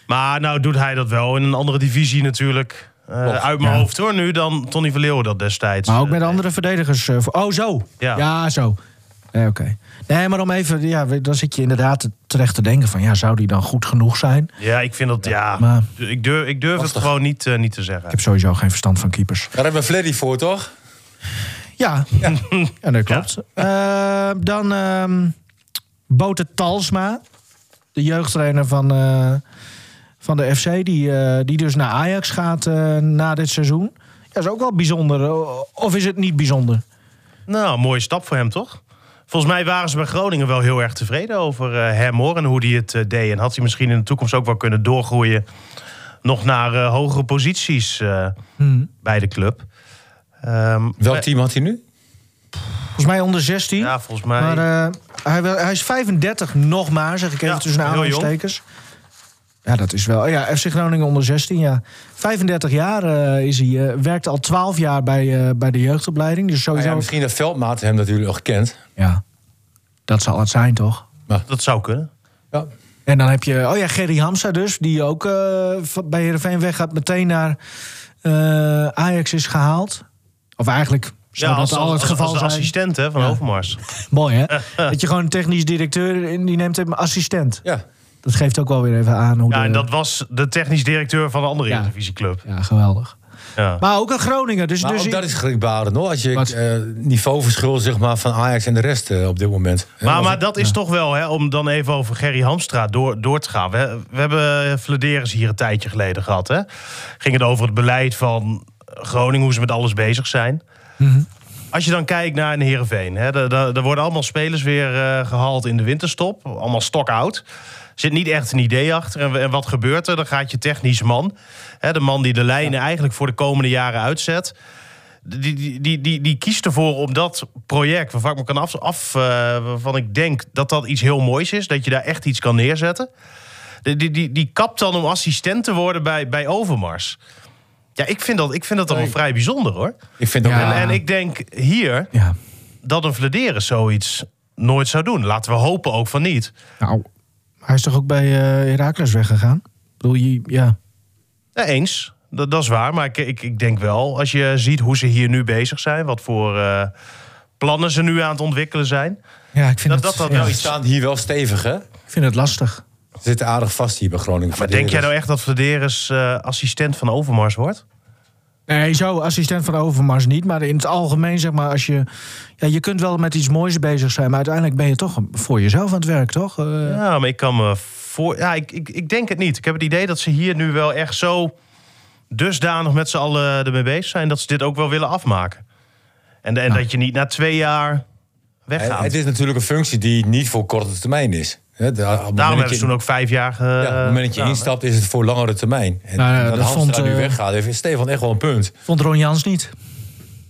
Speaker 4: Maar nou doet hij dat wel in een andere divisie natuurlijk. Eh,
Speaker 3: Klopt,
Speaker 4: uit mijn
Speaker 2: ja.
Speaker 4: hoofd hoor, nu dan Tony van Leeuwen dat destijds.
Speaker 2: maar ook
Speaker 4: eh,
Speaker 2: met
Speaker 4: deed.
Speaker 2: andere verdedigers. eh, voor- oh, zo.
Speaker 4: Ja.
Speaker 2: zo. Nee, oké. Nee, maar om even, ja, we- dan zit je inderdaad terecht te denken van, ja, zou die dan goed genoeg zijn? Ik
Speaker 4: Ja, ik vind dat, ja.
Speaker 2: maar-
Speaker 4: ik durf, ik durf het gewoon niet, eh, niet te zeggen.
Speaker 2: heb sowieso geen verstand van keepers.
Speaker 3: Daar hebben we Fleddy voor, toch?
Speaker 2: Ja, ja. dat klopt. Eh, dan ehm Bote Talsma, de jeugdtrainer van, eh, van de FC, die, eh, die dus naar Ajax gaat eh, na dit seizoen. Ja, is ook wel bijzonder. O- Of is het niet bijzonder?
Speaker 4: Nou, een mooie stap voor hem toch? Volgens mij waren ze bij Groningen wel heel erg tevreden over eh, hem hoor. En hoe hij het eh, deed. En had hij misschien in de toekomst ook wel kunnen doorgroeien. Nog naar eh, hogere posities eh,
Speaker 2: Hmm.
Speaker 4: bij de club. Ehm,
Speaker 3: Welk
Speaker 4: maar-
Speaker 3: team had hij nu?
Speaker 2: Volgens mij onder 16.
Speaker 4: Ja, volgens mij.
Speaker 2: Maar eh, hij, wil- hij is 35 nog maar, zeg ik even
Speaker 4: Ja,
Speaker 2: tussen de
Speaker 4: heel jong.
Speaker 2: aanhalingstekens. Ja, dat is wel. Ja, FC Groningen onder 16, ja. 35 jaar eh, is hij. eh, werkt al 12 jaar bij, eh, bij de jeugdopleiding. Dus
Speaker 3: Nou
Speaker 4: Ah,
Speaker 2: sowieso.
Speaker 3: ja, misschien dat Veldmaat hem natuurlijk al gekend.
Speaker 2: Ja, dat zal het zijn, toch?
Speaker 4: Dat zou kunnen.
Speaker 3: Ja.
Speaker 2: En dan heb je, oh ja, Gerry Hamza dus, die ook eh, van- bij Heerenveen weggaat, meteen naar eh, Ajax is gehaald. Of eigenlijk zou dat al het geval
Speaker 4: als de
Speaker 2: zijn.
Speaker 4: assistent hè, van Overmars.
Speaker 2: Mooi hè? dat je gewoon een technisch directeur, in- die neemt hem assistent.
Speaker 3: ja.
Speaker 2: Dat geeft ook wel weer even aan hoe
Speaker 4: Ja,
Speaker 2: de-
Speaker 4: en dat was de technisch directeur van een andere
Speaker 2: Ja.
Speaker 4: Eredivisieclub.
Speaker 2: Ja, geweldig.
Speaker 4: Ja.
Speaker 2: Maar ook een Groningen. Dus,
Speaker 3: Maar
Speaker 2: dus
Speaker 3: ook dat is schrikbarend, hoor. Als je
Speaker 2: Wat?
Speaker 3: eh, niveauverschil zeg maar, van Ajax en de rest eh, op dit moment.
Speaker 4: Maar, maar dat is toch wel, hè, om dan even over Gerry Hamstra door, door te gaan. We, we hebben Vladeris hier een tijdje geleden gehad. Hè? Ging het over het beleid van Groningen, hoe ze met alles bezig zijn.
Speaker 2: Mhm.
Speaker 4: Als je dan kijkt naar een Heerenveen. Hè, daar- daar daar worden allemaal spelers weer eh, gehaald in de winterstop. Allemaal stock-out. Zit niet echt een idee achter. En, en wat gebeurt er? Dan gaat je technisch man. Hè, de man die de lijnen eigenlijk voor de komende jaren uitzet die, die, die, die, die kiest ervoor om dat project, waarvan ik me kan af, af eh, waarvan ik denk dat dat iets heel moois is, dat je daar echt iets kan neerzetten. Die, die, die, die kapt dan om assistent te worden bij, bij Overmars. Ja, ik vind dat, ik vind dat toch wel vrij bijzonder hoor.
Speaker 3: Ik vind ook
Speaker 7: Ja.
Speaker 3: wel-
Speaker 4: En, en ik denk hier
Speaker 2: Ja.
Speaker 4: dat een Vladeren zoiets nooit zou doen. Laten we hopen ook van niet.
Speaker 2: Nou, hij is toch ook bij eh Herakles weggegaan? Ik bedoel, je- ja.
Speaker 4: Ja, eens. Dat, dat is waar. Maar ik, ik, ik denk wel, als je ziet hoe ze hier nu bezig zijn, wat voor eh, plannen ze nu aan het ontwikkelen zijn.
Speaker 2: ja, ik vind
Speaker 4: Dat
Speaker 2: het,
Speaker 4: dat dan
Speaker 2: ja,
Speaker 4: wel
Speaker 3: Die
Speaker 4: iets
Speaker 3: staan hier wel stevig, hè?
Speaker 2: ik vind het lastig.
Speaker 3: Ze zitten aardig vast hier bij Groningen.
Speaker 4: Maar denk jij nou echt dat Vladeris eh, assistent van Overmars wordt?
Speaker 2: Nee, zo assistent van Overmars niet. Maar in het algemeen, zeg maar, als je... Ja, je kunt wel met iets moois bezig zijn... maar uiteindelijk ben je toch voor jezelf aan het werk, toch? Eh,
Speaker 4: Ja, maar ik kan me voor. Ja, ik, ik, ik denk het niet. Ik heb het idee dat ze hier nu wel echt zo dusdanig met z'n allen ermee bezig zijn dat ze dit ook wel willen afmaken. En, en dat je niet na twee jaar
Speaker 3: Het,
Speaker 4: weggaat.
Speaker 3: Eh, het is natuurlijk een functie die niet voor korte termijn is. Hè, de- op het moment dat
Speaker 4: Daarom hebben
Speaker 3: je-
Speaker 4: ze toen ook eh, vijf jaar. ge-
Speaker 3: Ja, op het moment dat je
Speaker 4: gedaan, hè?
Speaker 3: instapt, is het voor langere termijn. En
Speaker 2: Nou ja,
Speaker 3: dat,
Speaker 2: dat
Speaker 3: Hamstra
Speaker 2: vond,
Speaker 3: nu
Speaker 2: eh,
Speaker 3: weggaat, heeft Stefan echt wel een punt.
Speaker 2: Vond Ron Jans niet.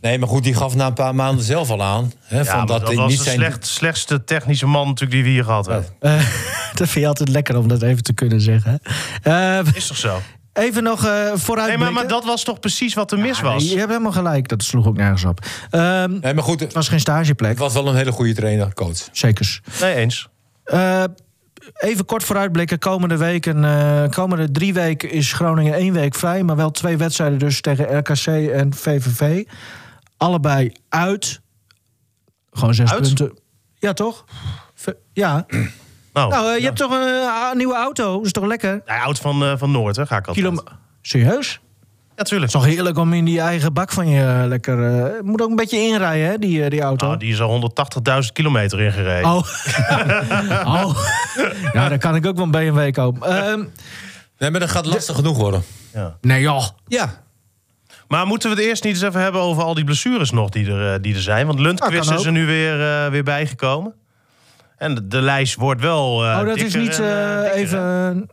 Speaker 3: Nee, maar goed, die gaf na een paar maanden zelf al aan. Hè,
Speaker 4: Ja,
Speaker 3: van
Speaker 4: maar
Speaker 3: dat
Speaker 4: dat,
Speaker 3: dit
Speaker 4: was
Speaker 3: niet
Speaker 4: de
Speaker 3: zijn...
Speaker 4: slecht, slechtste technische man natuurlijk die we hier gehad hebben.
Speaker 2: Eh, dat vind je altijd lekker om dat even te kunnen zeggen. Eh,
Speaker 4: Is toch zo?
Speaker 2: even nog eh vooruit.
Speaker 4: Nee, maar, maar dat was toch precies wat er mis was?
Speaker 2: Je hebt helemaal gelijk, dat sloeg ook nergens op. Ehm,
Speaker 3: Nee, maar goed, het
Speaker 2: het was geen stageplek,
Speaker 3: het was wel een hele goede trainer, coach.
Speaker 2: zekers.
Speaker 4: Nee, eens.
Speaker 2: Eh, even kort vooruitblikken. Komende, weken, eh, komende drie weken is Groningen één week vrij. Maar wel twee wedstrijden dus tegen RKC en VVV. Allebei uit. Gewoon zes
Speaker 4: Uit?
Speaker 2: punten. Ja, toch? V- ja.
Speaker 4: Nou,
Speaker 2: nou, eh, je
Speaker 4: ja.
Speaker 2: hebt toch een eh, nieuwe auto? Is toch lekker?
Speaker 4: Hij houdt van, eh, van Noord, hè? Ga ik altijd.
Speaker 2: Kilo... Serieus?
Speaker 4: Natuurlijk.
Speaker 2: Het is toch heerlijk om in die eigen bak van je eh, lekker... eh, moet ook een beetje inrijden, hè, die, eh, die auto.
Speaker 4: Nou, die is al 180.000 kilometer ingereden.
Speaker 2: Oh. oh. Ja, dan kan ik ook wel een BMW kopen. Ehm,
Speaker 3: Nee, maar dat gaat lastig genoeg worden.
Speaker 2: nee, joh.
Speaker 3: Ja,
Speaker 4: Maar moeten we het eerst niet eens even hebben over al die blessures nog die er, eh, die er zijn? Want
Speaker 2: Ah,
Speaker 4: Lundqvist
Speaker 2: kan
Speaker 4: is er nu weer, eh, weer bijgekomen. En de, de lijst wordt wel. eh,
Speaker 2: Oh, dat is
Speaker 4: dikker
Speaker 2: niet
Speaker 4: en, eh,
Speaker 2: eh,
Speaker 4: dikker, hè?
Speaker 2: even...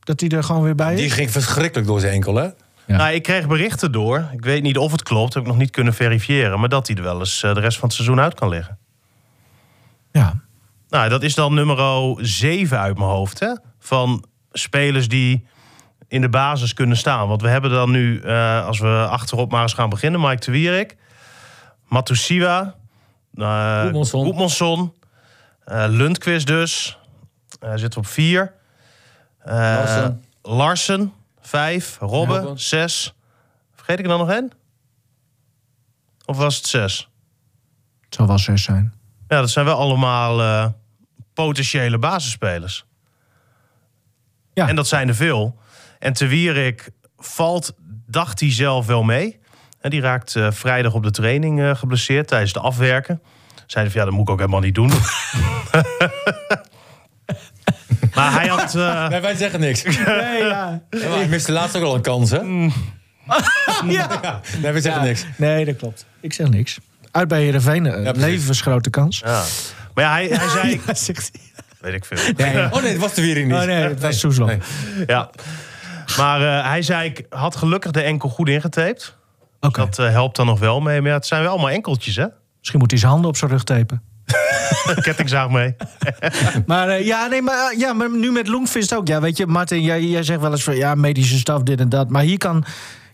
Speaker 2: dat hij er gewoon weer bij is?
Speaker 3: die ging verschrikkelijk door zijn enkel, hè?
Speaker 2: Ja.
Speaker 4: Nou, ik kreeg berichten door. Ik weet niet of het klopt, heb ik nog niet kunnen verifiëren. Maar dat hij er wel eens eh, de rest van het seizoen uit kan liggen.
Speaker 2: Ja.
Speaker 4: Nou, dat is dan nummer 7 uit mijn hoofd. Hè? Van spelers die in de basis kunnen staan. Want we hebben dan nu, eh, als we achterop maar eens gaan beginnen... Mike de Wierik, Matusiwa, eh
Speaker 3: Goedmanson.
Speaker 4: Goedmanson, eh, Lundqvist dus. Eh zit op 4.
Speaker 3: Larsen.
Speaker 4: Larsen, 5. Robben,
Speaker 3: Robben.
Speaker 4: 6. Vergeet ik er dan nog één? Of was het 6?
Speaker 2: Het zal wel zes zijn.
Speaker 4: Ja, dat zijn wel allemaal eh, potentiële basisspelers.
Speaker 2: Ja.
Speaker 4: En dat zijn er veel. En Te Wierik valt, dacht hij zelf wel mee. En die raakt eh, vrijdag op de training eh, geblesseerd tijdens de afwerken. Zeiden van ja, dat moet ik ook helemaal niet doen. maar hij had. eh,
Speaker 3: Nee, wij zeggen niks.
Speaker 2: Nee, ja.
Speaker 3: Ja, maar ik miste laatst ook al een kans, hè?
Speaker 4: Mm.
Speaker 3: Nee, wij zeggen niks.
Speaker 2: Nee, dat klopt. Ik zeg niks. Uit bij Heerenveen. eh,
Speaker 3: precies.
Speaker 2: levensgrote kans.
Speaker 4: ja. Maar ja, hij, hij zei.
Speaker 2: Ja, zegt hij.
Speaker 4: Weet ik veel.
Speaker 3: Oh nee, het was er weer niet.
Speaker 2: Oh nee, dat is Soeslof.
Speaker 3: Nee.
Speaker 4: Ja. Maar eh, hij zei, ik had gelukkig de enkel goed ingetaped.
Speaker 2: Oké.
Speaker 4: Dat eh, helpt dan nog wel mee. Maar ja, het zijn wel allemaal enkeltjes, hè?
Speaker 2: Misschien moet hij zijn handen op zijn rug tapen.
Speaker 4: Kettingzaag mee.
Speaker 2: Maar, eh, ja, nee, maar, eh, ja, maar nu met Loengvist ook. Ja, weet je, Martin, jij, jij zegt wel eens van... ja, medische staf, dit en dat. Maar hier kan...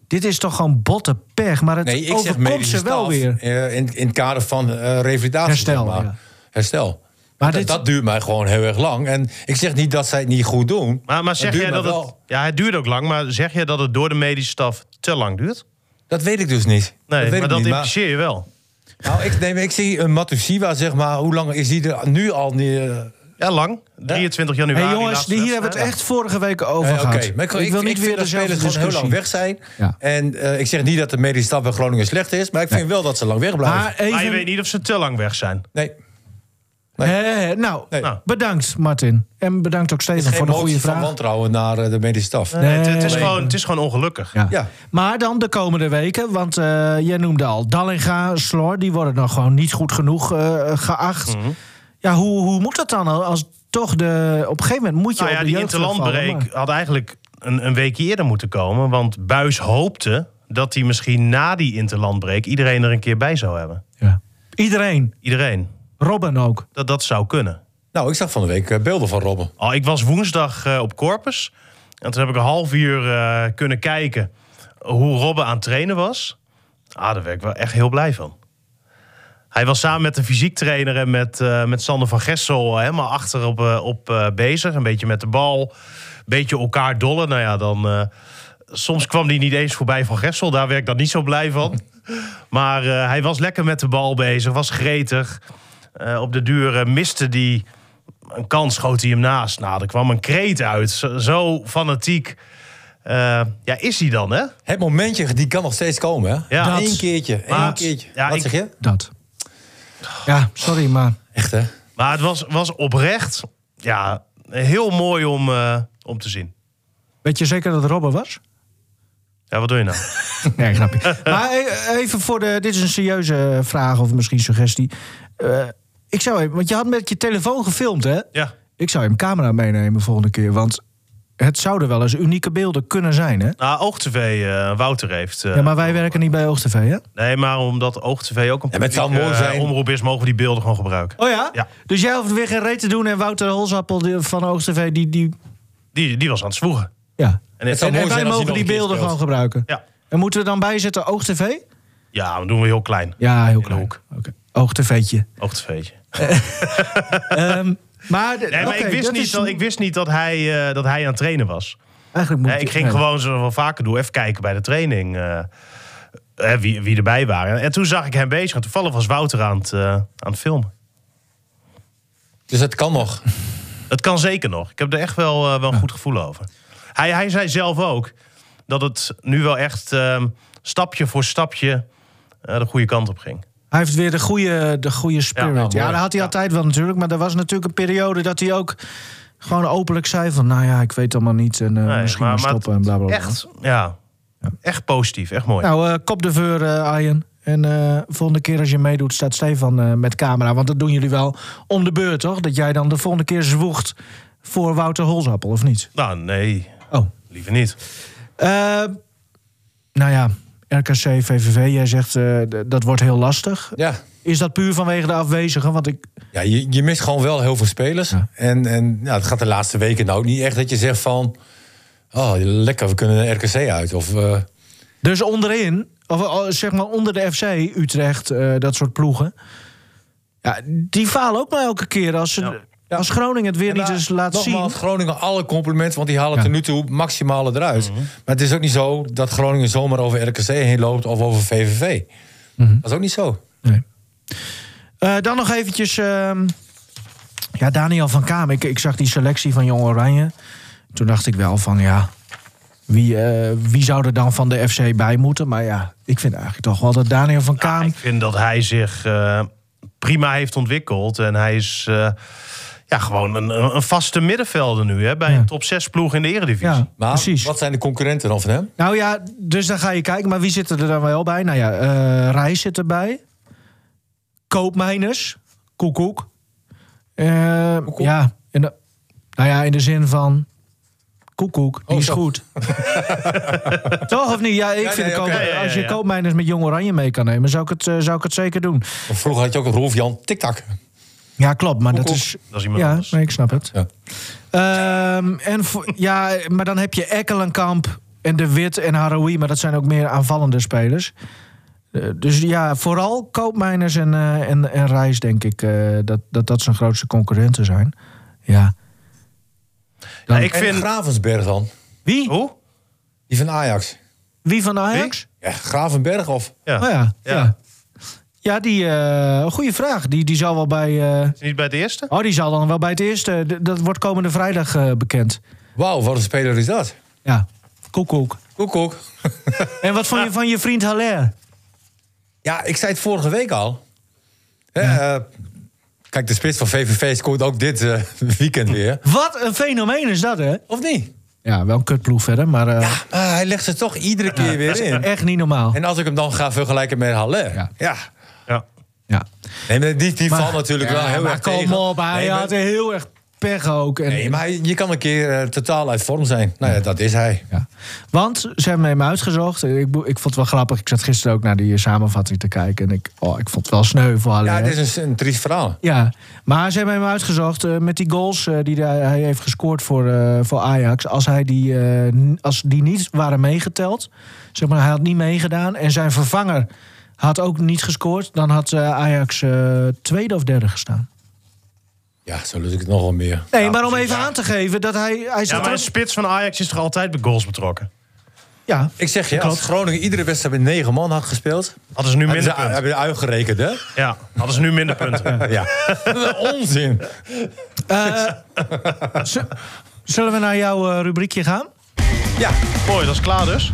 Speaker 2: Dit is toch gewoon botte pech. Maar het
Speaker 3: Nee, ik zeg
Speaker 2: overkomt
Speaker 3: medische
Speaker 2: ze wel
Speaker 3: staf,
Speaker 2: weer.
Speaker 3: eh, in, in het kader van eh, revalidatie.
Speaker 2: Herstel,
Speaker 3: zeg maar.
Speaker 2: ja.
Speaker 3: Herstel.
Speaker 2: Maar
Speaker 3: Maar dat,
Speaker 2: dit-
Speaker 3: dat duurt mij gewoon heel erg lang. En ik zeg niet dat zij het niet goed doen.
Speaker 4: Maar, maar zeg
Speaker 3: duurt
Speaker 4: jij
Speaker 3: mij
Speaker 4: dat het...
Speaker 3: wel.
Speaker 4: Ja, het duurt ook lang. Maar zeg jij dat het door de medische staf te lang duurt?
Speaker 3: Dat weet ik dus niet.
Speaker 4: Nee,
Speaker 3: dat weet
Speaker 4: maar
Speaker 3: ik
Speaker 4: dat
Speaker 3: niet.
Speaker 4: impliceer je wel.
Speaker 3: nou, ik, nee, maar ik zie een Matusiwa, zeg maar. Hoe lang is die er nu al? niet, eh,
Speaker 4: Ja, lang. 23 januari.
Speaker 2: Hey jongens,
Speaker 4: laatste
Speaker 2: die hier hebben we
Speaker 4: wedstrijd.
Speaker 2: het echt vorige week over
Speaker 3: Eh,
Speaker 2: gehad.
Speaker 3: oké, maar ik, ik, wil niet weer dat spelers gewoon heel lang weg zijn.
Speaker 2: Ja.
Speaker 3: En eh, ik zeg niet dat de medische staf bij Groningen slecht is, maar ik vind wel dat ze lang weg blijven.
Speaker 2: Maar
Speaker 4: Maar je
Speaker 2: even,
Speaker 4: weet niet of ze te lang weg zijn.
Speaker 3: nee,
Speaker 2: Eh, eh, nou,
Speaker 3: Nee.
Speaker 2: nou, bedankt Martin. En bedankt ook Steven voor
Speaker 3: geen
Speaker 2: de goede
Speaker 3: motie van
Speaker 2: vraag.
Speaker 3: wantrouwen naar eh, de medische staf.
Speaker 4: Nee, het, het is
Speaker 2: nee.
Speaker 4: gewoon, het is gewoon ongelukkig.
Speaker 2: Ja.
Speaker 3: Ja.
Speaker 2: Maar dan de komende weken, want eh, jij noemde al Dallinga, Slor, die worden nog gewoon niet goed genoeg eh, geacht. Ja, hoe, hoe moet dat dan als toch de. Op een gegeven moment moet je.
Speaker 4: Nou ja,
Speaker 2: op de
Speaker 4: die
Speaker 2: jeugd terugvallen,
Speaker 4: interlandbreek had eigenlijk een, een weekje eerder moeten komen. Want Buis hoopte dat hij misschien na die interlandbreek iedereen er een keer bij zou hebben.
Speaker 2: maar- Ja. Iedereen,
Speaker 4: Iedereen.
Speaker 2: Robin ook.
Speaker 4: Dat dat zou kunnen.
Speaker 3: Nou, ik zag van de week eh, beelden van Robben.
Speaker 4: Oh, ik was woensdag eh, op Corpus. En toen heb ik een half uur eh, kunnen kijken hoe Robben aan het trainen was. Ah, daar werd ik wel echt heel blij van. Hij was samen met de fysiek trainer en met, eh, met Sander van Gessel eh, helemaal achter op, eh, op eh, bezig. Een beetje met de bal, een beetje elkaar dollen. Nou ja, dan, eh, soms kwam hij niet eens voorbij van Gessel. Daar werd ik dan niet zo blij van. Maar eh, hij was lekker met de bal bezig, was gretig. Eh, op de duur eh, miste hij een kans, schoot hij hem naast. Nou, er kwam een kreet uit. Zo, zo fanatiek. Eh, ja, is hij dan, hè?
Speaker 3: Het momentje, die kan nog steeds komen, hè?
Speaker 4: Ja.
Speaker 3: Eén
Speaker 4: Dat.
Speaker 3: keertje,
Speaker 4: Maar-
Speaker 3: één keertje.
Speaker 4: Ja,
Speaker 3: Wat
Speaker 4: ik-
Speaker 3: zeg je?
Speaker 2: Dat. Ja, sorry, maar.
Speaker 3: Echt, hè?
Speaker 4: Maar het was, was oprecht ja, heel mooi om, eh, om te zien.
Speaker 2: Weet je zeker dat het Robben was?
Speaker 4: Ja, wat doe je nou?
Speaker 2: Nee, grapje. maar e- even voor de. Dit is een serieuze vraag of misschien suggestie. Eh, ik zou even. Want je had met je telefoon gefilmd, hè?
Speaker 4: Ja,
Speaker 2: Ik zou hem camera meenemen volgende keer. Want het zouden wel eens unieke beelden kunnen zijn, hè?
Speaker 4: nou, OogTV, eh, Wouter heeft... eh,
Speaker 2: Ja, maar wij werken niet bij OogTV, hè?
Speaker 4: Nee, maar omdat OogTV ook een
Speaker 3: Ja, maar het zou
Speaker 4: publieke,
Speaker 3: mooi
Speaker 4: eh,
Speaker 3: zijn.
Speaker 4: omroep is, mogen we die beelden gewoon gebruiken.
Speaker 2: Oh ja?
Speaker 4: Ja.
Speaker 2: Dus jij hoeft weer geen reet te doen en Wouter Holzappel die- van OogTV, die... die
Speaker 4: Die, die was aan het zwoegen.
Speaker 2: ja.
Speaker 4: En, het
Speaker 3: zou
Speaker 2: En
Speaker 3: mooi
Speaker 2: wij
Speaker 3: zijn als hij
Speaker 2: mogen
Speaker 3: nog een
Speaker 2: die
Speaker 3: keer
Speaker 2: beelden
Speaker 3: speelt.
Speaker 2: gewoon gebruiken.
Speaker 4: Ja.
Speaker 2: En moeten we dan bijzetten OogTV?
Speaker 4: ja, dat doen we heel klein.
Speaker 2: Ja, heel
Speaker 4: klein.
Speaker 2: klein. Oké. OogTV'tje.
Speaker 4: OogTV'tje.
Speaker 2: Ehm, maar de-
Speaker 4: Nee, maar
Speaker 2: oké,
Speaker 4: ik, wist
Speaker 2: dat
Speaker 4: niet
Speaker 2: is-
Speaker 4: dat, ik wist niet dat hij, eh, dat hij aan het trainen was.
Speaker 2: Eigenlijk moet
Speaker 4: Nee, ik ging
Speaker 2: nee.
Speaker 4: gewoon, zoals we wel vaker doen, even kijken bij de training. eh, eh, wie, wie erbij waren. En toen zag ik hem bezig. En toevallig was Wouter aan het, eh, aan het filmen.
Speaker 3: Dus het kan nog.
Speaker 4: Het kan zeker nog. Ik heb er echt wel, eh, wel een goed gevoel over. Hij, hij zei zelf ook dat het nu wel echt ehm, stapje voor stapje eh, de goede kant op ging.
Speaker 2: Hij heeft weer de goede, de goede
Speaker 4: Ja, nou,
Speaker 2: spirit. Ja,
Speaker 4: mooi.
Speaker 2: dat had hij
Speaker 4: Ja.
Speaker 2: altijd wel natuurlijk. Maar er was natuurlijk een periode dat hij ook gewoon openlijk zei van... nou ja, ik weet allemaal niet en eh,
Speaker 4: Nee,
Speaker 2: misschien maar, stoppen en
Speaker 4: het-
Speaker 2: bla bla bla.
Speaker 4: Echt, ja, echt positief, echt mooi.
Speaker 2: Nou, eh, kop de veur, eh, Arjen. En eh, volgende keer als je meedoet, staat Stefan eh, met camera. Want dat doen jullie wel om de beurt, toch? Dat jij dan de volgende keer zwoegt voor Wouter Holzappel, of niet?
Speaker 4: Nou, nee,
Speaker 2: Oh.
Speaker 4: liever niet.
Speaker 2: Eh, nou ja, RKC, VVV, jij zegt eh, d- dat wordt heel lastig.
Speaker 3: Ja.
Speaker 2: Is dat puur vanwege de afwezigen? Want ik,
Speaker 3: Ja, je, je mist gewoon wel heel veel spelers. En, en ja, het gaat de laatste weken nou ook niet echt dat je zegt van... Oh, lekker, we kunnen een RKC uit. Of, eh,
Speaker 2: dus onderin, of eh, zeg maar onder de FC, Utrecht, eh, dat soort ploegen... Ja, die falen ook maar elke keer als, ze, als Groningen het weer niet eens dus laat zien.
Speaker 3: Nou, nogmaals, Groningen alle complimenten, want die halen tot nu toe maximale eruit. Maar het is ook niet zo dat Groningen zomaar over RKC heen loopt of over VVV. Dat is ook niet zo.
Speaker 2: Nee. Eh, dan nog eventjes... ehm, ja, Daniel van Kaam. Ik, ik zag die selectie van Jong Oranje. Toen dacht ik wel van, ja... Wie, eh, wie zou er dan van de FC bij moeten? Maar ja, ik vind eigenlijk toch wel dat Daniel van Kaam...
Speaker 4: Ik vind dat hij zich eh, prima heeft ontwikkeld. En hij is eh, ja, gewoon een, een vaste middenvelder nu hè, bij
Speaker 2: Ja.
Speaker 4: een top 6 ploeg in de eredivisie.
Speaker 2: ja,
Speaker 3: Maar
Speaker 2: precies.
Speaker 3: wat zijn de concurrenten dan van hem?
Speaker 2: Nou ja, dus dan ga je kijken. Maar wie zit er dan wel bij? Nou ja, eh Rijs zit erbij. Koopmijners. Koekoek. Eh, ja, in de, nou ja, in de zin van... Koekoek, die
Speaker 3: Oh,
Speaker 2: is
Speaker 3: zo.
Speaker 2: goed. Toch of niet? Ja, ik
Speaker 3: Ja,
Speaker 2: vind
Speaker 3: nee,
Speaker 2: de koop-
Speaker 4: oké, ja, ja,
Speaker 2: als je
Speaker 4: ja.
Speaker 2: koopmijners met Jong Oranje mee kan nemen... zou ik het, eh, zou ik het zeker doen.
Speaker 3: Want Vroeger had je ook een Rolf Jan Tiktak.
Speaker 2: Ja, klopt, maar dat
Speaker 3: Koekoek.
Speaker 2: is...
Speaker 4: Dat is iemand
Speaker 2: Ja,
Speaker 4: anders.
Speaker 2: nee, ik snap het.
Speaker 3: Ja.
Speaker 2: Ehm, en voor- ja, maar dan heb je Ekkelenkamp en De Wit en Haroui. Maar dat zijn ook meer aanvallende spelers. Eh, dus ja, vooral Koopmijners en, eh, en, en Reis, denk ik, eh, dat, dat dat zijn grootste concurrenten zijn. Ja.
Speaker 4: Ja, ik
Speaker 3: Ik vind...
Speaker 4: vind...
Speaker 3: Gravensberg dan.
Speaker 2: Wie?
Speaker 4: Hoe?
Speaker 3: Die van Ajax.
Speaker 2: Wie van de Ajax?
Speaker 3: Ja, Gravenberg of...
Speaker 4: Ja.
Speaker 2: Oh ja, ja.
Speaker 4: Ja.
Speaker 2: ja. Ja, die, eh goede vraag. Die, die zal wel bij. eh,
Speaker 4: Is niet bij de eerste?
Speaker 2: oh, die zal dan wel bij het eerste. d- dat wordt komende vrijdag eh, bekend.
Speaker 3: Wauw, wat een speler is dat.
Speaker 2: Ja, koekoek.
Speaker 3: Koekoek.
Speaker 2: En wat vond je van je vriend Haller?
Speaker 3: Ja, ik zei het vorige week al. Hè, eh, kijk, de spits van VVV scoort ook dit eh, weekend weer.
Speaker 2: Wat een fenomeen is dat, hè?
Speaker 3: Of niet?
Speaker 2: Ja, wel een kutploeg verder, maar eh,
Speaker 3: Ah, hij legt ze toch iedere keer weer in.
Speaker 2: nou echt niet normaal.
Speaker 3: En als ik hem dan ga vergelijken met Haller.
Speaker 2: Ja.
Speaker 3: Ja.
Speaker 4: Ja.
Speaker 2: Ja.
Speaker 3: Nee, maar die, die valt natuurlijk wel
Speaker 2: Ja,
Speaker 3: heel
Speaker 2: maar
Speaker 3: erg
Speaker 2: kom
Speaker 3: tegen.
Speaker 2: op, hij
Speaker 3: Nee, maar-
Speaker 2: had heel erg pech ook. En,
Speaker 3: Nee, maar je kan een keer eh, totaal uit vorm zijn. Nou ja, dat is hij.
Speaker 2: Ja. Want ze hebben hem uitgezocht. Ik, bo- ik vond het wel grappig. Ik zat gisteren ook naar die eh, samenvatting te kijken. En ik, oh, ik vond het wel sneu voor Haller.
Speaker 3: Ja,
Speaker 2: hè.
Speaker 3: het is een, een triest verhaal.
Speaker 2: Ja, maar ze hebben hem uitgezocht eh, met die goals eh, die hij, hij heeft gescoord voor, eh, voor Ajax. Als, hij die, eh, n- als die niet waren meegeteld, zeg maar, hij had niet meegedaan en zijn vervanger had ook niet gescoord, dan had eh, Ajax eh, tweede of derde gestaan.
Speaker 3: Ja, zo lust ik het nog wel meer.
Speaker 2: Nee,
Speaker 3: Ja,
Speaker 2: maar om
Speaker 3: precies.
Speaker 2: even aan te geven dat hij. hij
Speaker 4: Ja,
Speaker 2: zat
Speaker 4: maar
Speaker 2: er-
Speaker 4: een spits van Ajax is toch altijd bij goals betrokken?
Speaker 2: ja.
Speaker 3: Ik zeg je, als Groningen iedere wedstrijd met negen man had gespeeld...
Speaker 4: Hadden ze nu
Speaker 3: Hebben ze
Speaker 4: minder punten?
Speaker 3: hebben ze uitgerekend, hè?
Speaker 4: Ja, hadden ze nu minder punten.
Speaker 3: Ja. Dat is onzin.
Speaker 2: Eh, Z- Zullen we naar jouw eh, rubriekje gaan?
Speaker 3: Ja.
Speaker 4: Mooi, dat is klaar dus.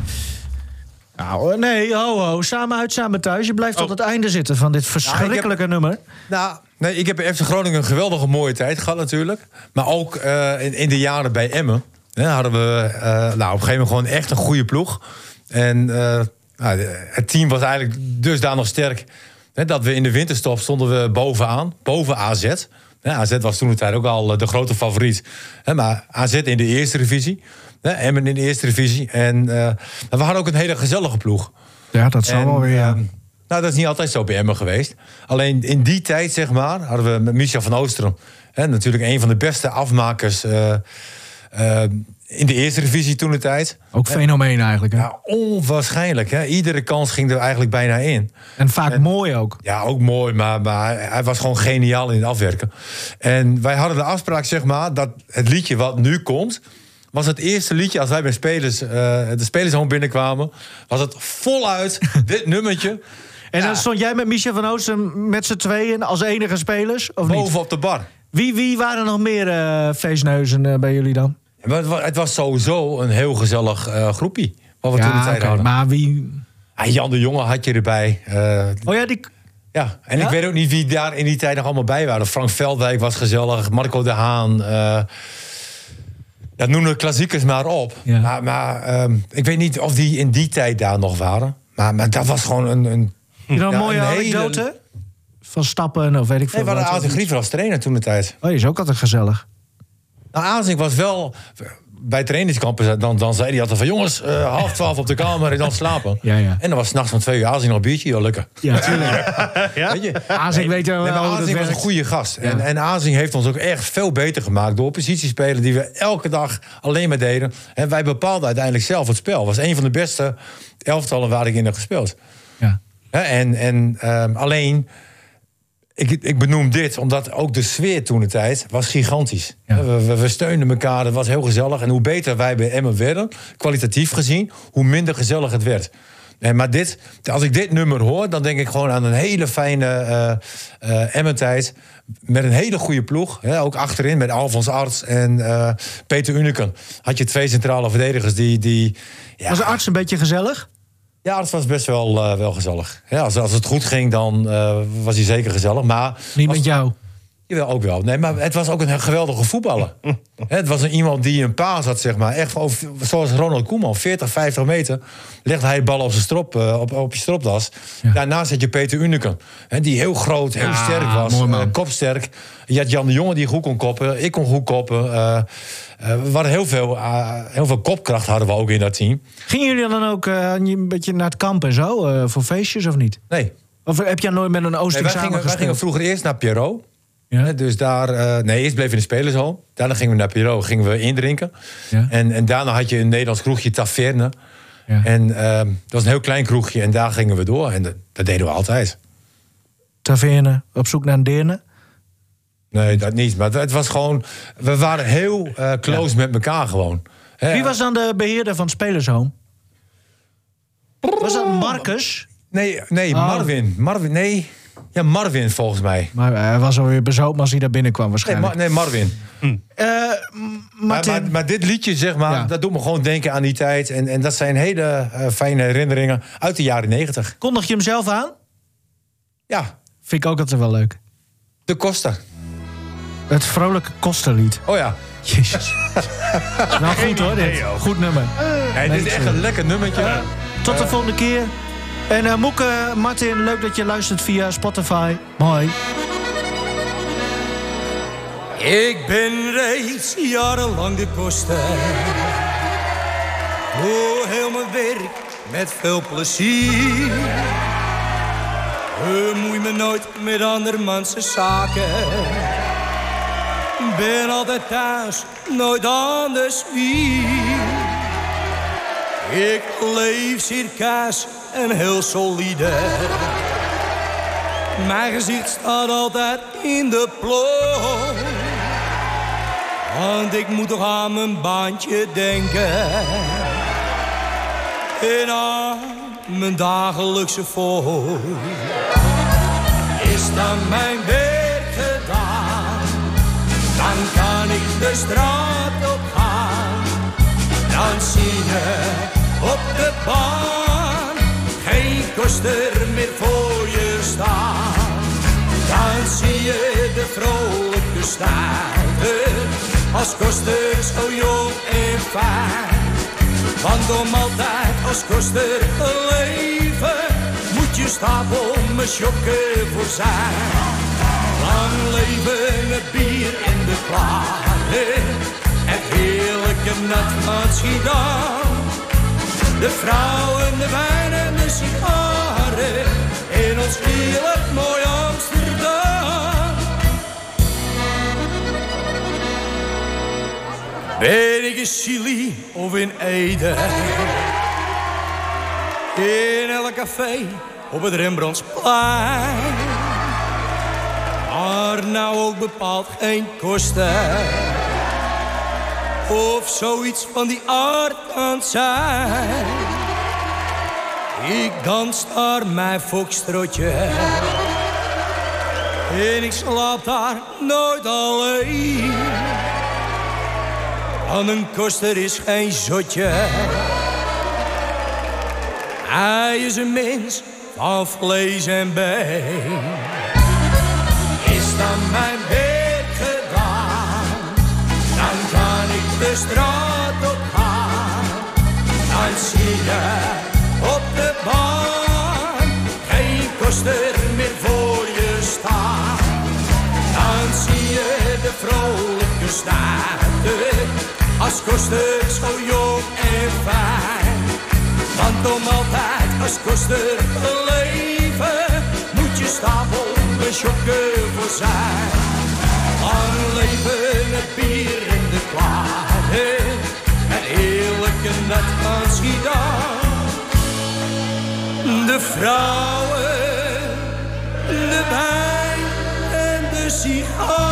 Speaker 2: Nou, eh, nee, ho, ho. Samen uit, samen thuis. Je blijft tot het einde zitten van dit verschrikkelijke nummer.
Speaker 3: Nou, nee, ik heb bij FC Groningen een geweldige mooie tijd gehad natuurlijk. Maar ook eh, in, in de jaren bij Emmen hè, hadden we eh, nou, op een gegeven moment gewoon echt een goede ploeg. En eh, nou, het team was eigenlijk dusdanig sterk hè, dat we in de winterstop stonden we bovenaan, boven AZ. Hè, AZ was toen de tijd ook al eh, de grote favoriet. Hè, maar AZ in de eerste divisie, hè, Emmen in de eerste divisie. En eh, we hadden ook een hele gezellige ploeg.
Speaker 2: Ja, dat zal
Speaker 3: En,
Speaker 2: wel weer.
Speaker 3: ehm, nou, dat is niet altijd zo bij Emmen geweest. Alleen in die tijd, zeg maar, hadden we met Michel van Oosteren... Hè, natuurlijk een van de beste afmakers eh, eh, in de eerste divisie toen de tijd.
Speaker 2: ook fenomeen eigenlijk. Hè?
Speaker 3: Ja, onwaarschijnlijk. Hè? Iedere kans ging er eigenlijk bijna in.
Speaker 2: En vaak mooi ook.
Speaker 3: Ja, ook mooi, maar, maar hij- hij was gewoon geniaal in het afwerken. En wij hadden de afspraak, zeg maar, dat het liedje wat nu komt... was het eerste liedje als wij bij spelers, eh de spelershoom binnenkwamen... was het voluit dit nummertje
Speaker 2: En dan
Speaker 3: Ja.
Speaker 2: stond jij met Michel van Oosten met z'n tweeën als enige spelers, of niet?
Speaker 3: boven op de bar.
Speaker 2: Wie, wie waren er nog meer eh feestneuzen eh, bij jullie dan?
Speaker 3: Ja, Maar het, was, het was sowieso een heel gezellig eh, groepie. Wat we toen de tijd
Speaker 2: oké,
Speaker 3: hadden.
Speaker 2: maar wie...
Speaker 3: Ah, Jan de Jonge had je erbij. eh,
Speaker 2: Oh ja, die...
Speaker 3: ja. En
Speaker 2: Ja?
Speaker 3: ik weet ook niet wie daar in die tijd nog allemaal bij waren. Frank Veldwijk was gezellig. Marco de Haan. eh dat noemen we klassiekers maar op.
Speaker 2: Ja.
Speaker 3: Maar, maar ehm, ik weet niet of die in die tijd daar nog waren. Maar, maar dat was gewoon een... een
Speaker 2: Heb je dan
Speaker 3: Hm.
Speaker 2: een
Speaker 3: Ja,
Speaker 2: mooie
Speaker 3: een hele-
Speaker 2: anekdote? Van stappen of weet ik veel
Speaker 3: nee, we hadden
Speaker 2: wat.
Speaker 3: Aalten Griever als trainer toen de tijd.
Speaker 2: Oh, die is ook altijd gezellig.
Speaker 3: Nou, Aanzink was wel... Bij trainingskampen, dan, dan zei hij altijd van... jongens, eh, half twaalf op de kamer en dan slapen.
Speaker 2: Ja, ja.
Speaker 3: En dan was s'nachts om twee uur Aanzink nog een biertje. Joh, lekker.
Speaker 2: Ja, tuurlijk.
Speaker 4: Ja?
Speaker 3: Weet je?
Speaker 2: Aanzien weet wel
Speaker 3: Nee, maar
Speaker 2: hoe dat
Speaker 3: Azing was een
Speaker 2: werkt.
Speaker 3: goede gast. En, en Azing heeft ons ook echt veel beter gemaakt door positiespelen die we elke dag alleen maar deden. En wij bepaalden uiteindelijk zelf het spel. Was een van de beste elftallen waar ik in heb gespeeld.
Speaker 2: Ja.
Speaker 3: Hè, En, en ehm, alleen, ik, ik benoem dit omdat ook de sfeer toen de tijd was gigantisch.
Speaker 2: Ja.
Speaker 3: We, we, we steunden elkaar, dat was heel gezellig. En hoe beter wij bij Emmen werden, kwalitatief gezien, hoe minder gezellig het werd. Nee, maar dit, als ik dit nummer hoor, dan denk ik gewoon aan een hele fijne eh eh, Emmen-tijd. Met een hele goede ploeg. Hè, ook achterin met Alfons Arts en eh, Peter Uniken. Had je twee centrale verdedigers die... die ja,
Speaker 2: Was de arts een beetje gezellig?
Speaker 3: ja, dat was best wel, eh, wel gezellig. Ja, als, als het goed ging, dan eh, was hij zeker gezellig. Maar
Speaker 2: Niet
Speaker 3: was-
Speaker 2: met jou.
Speaker 3: Jawel, ook wel. Nee, maar het was ook een geweldige voetballer. Hè, het was een, iemand die een paas had, zeg maar. Echt, over- zoals Ronald Koeman, 40, 50 meter... legde hij de bal op, zijn strop, eh, op, op je stropdas. Daarnaast had je Peter Uneken. Hè, die heel groot, heel
Speaker 2: Ja,
Speaker 3: sterk was.
Speaker 2: mooi man.
Speaker 3: eh, kopsterk. Je had Jan de Jonge die goed kon koppen. Ik kon goed koppen. eh, eh, we hadden heel veel, eh, heel veel kopkracht hadden we ook in dat team.
Speaker 2: Gingen jullie dan ook eh, een beetje naar het kamp en zo? eh, voor feestjes of niet?
Speaker 3: Nee,
Speaker 2: Of heb jij nooit met een
Speaker 3: Nee,
Speaker 2: Oosting
Speaker 3: wij,
Speaker 2: samen
Speaker 3: gingen, wij gingen
Speaker 2: gespeeld?
Speaker 3: vroeger eerst naar Pierrot.
Speaker 2: Ja.
Speaker 3: Hè, Dus daar, eh, nee, eerst bleven we in de spelershal. Daarna gingen we naar Pierrot, gingen we indrinken.
Speaker 2: Ja.
Speaker 3: En, en daarna had je een Nederlands kroegje, Taverne.
Speaker 2: Ja.
Speaker 3: En ehm, dat was een heel klein kroegje en daar gingen we door. En dat, dat deden we altijd.
Speaker 2: Taverne, op zoek naar een deerne.
Speaker 3: Nee, dat niet. Maar het was gewoon, we waren heel eh, close met elkaar gewoon. Hè,
Speaker 2: Wie was dan de beheerder van het Spelershome? Was dat Marcus?
Speaker 3: Nee, nee
Speaker 2: Oh.
Speaker 3: Marvin. Marvin, nee. Ja, Marvin volgens mij.
Speaker 2: Maar eh, hij was alweer bezopen als hij daar binnenkwam
Speaker 3: Nee,
Speaker 2: waarschijnlijk.
Speaker 3: Mar- nee Marvin.
Speaker 2: Eh, m-
Speaker 3: Mm. Maar,
Speaker 2: Martin,
Speaker 3: maar, maar dit liedje, zeg maar,
Speaker 2: Ja.
Speaker 3: dat doet me gewoon denken aan die tijd. En, en dat zijn hele eh, fijne herinneringen uit de jaren negentig.
Speaker 2: kondig je hem zelf aan?
Speaker 3: Ja,
Speaker 2: Vind ik ook altijd wel leuk.
Speaker 3: de koster.
Speaker 2: Het vrolijke kostenlied.
Speaker 3: Oh ja.
Speaker 2: Jezus. nou goed hoor, dit.
Speaker 9: idee, joh.
Speaker 2: Goed nummer.
Speaker 3: Hey, dit is echt een lekker nummertje.
Speaker 2: Tot de volgende keer. En eh Moeke, Martin, leuk dat je luistert via Spotify. Mooi.
Speaker 7: Ik ben reeds jarenlang de koster. Doe heel mijn werk met veel plezier. Bemoei me nooit met andermans zaken. Ben altijd thuis, nooit anders wie. Ik leef circa's en heel solide. Mijn gezicht staat altijd in de plooi. Want ik moet toch aan mijn baantje denken. En aan mijn dagelijkse voor. Is dan mijn werk gedaan? Dan kan ik de straat op gaan. Dan zingen op de baan. Geen koster meer voor je staan. Dan zie je de vrolijke staarder als koster zo jong en fijn. Want om altijd als koster te leven, moet je stapel met sjokken voor zijn. Lang leven het bier en de klaren, het heerlijke nat van Schiedam. De vrouwen, de wijn en de sigaren in ons heerlijk mooi Amsterdam. Ben ik in Chili of in Ede? In elk café op het Rembrandtsplein. Maar nou ook bepaald geen kosten of zoiets van die aard aan het zijn. Ik dans daar mijn foxtrotje en ik slaap daar nooit alleen. Aan een koster is geen zotje, hij is een mens van vlees en been. Is dan mijn werk gedaan? dan kan ik de straat op gaan. Dan zie je op de baan geen koster meer voor je staan. Dan zie je de vrolijke staarder als koster zo jong en fijn. Want om altijd als koster te leven, moet je stapel een schokken voor zijn. Lang leven het bier in de kwade, het heerlijke nat van Schiedam. De vrouwen, de wijn en de sigaar.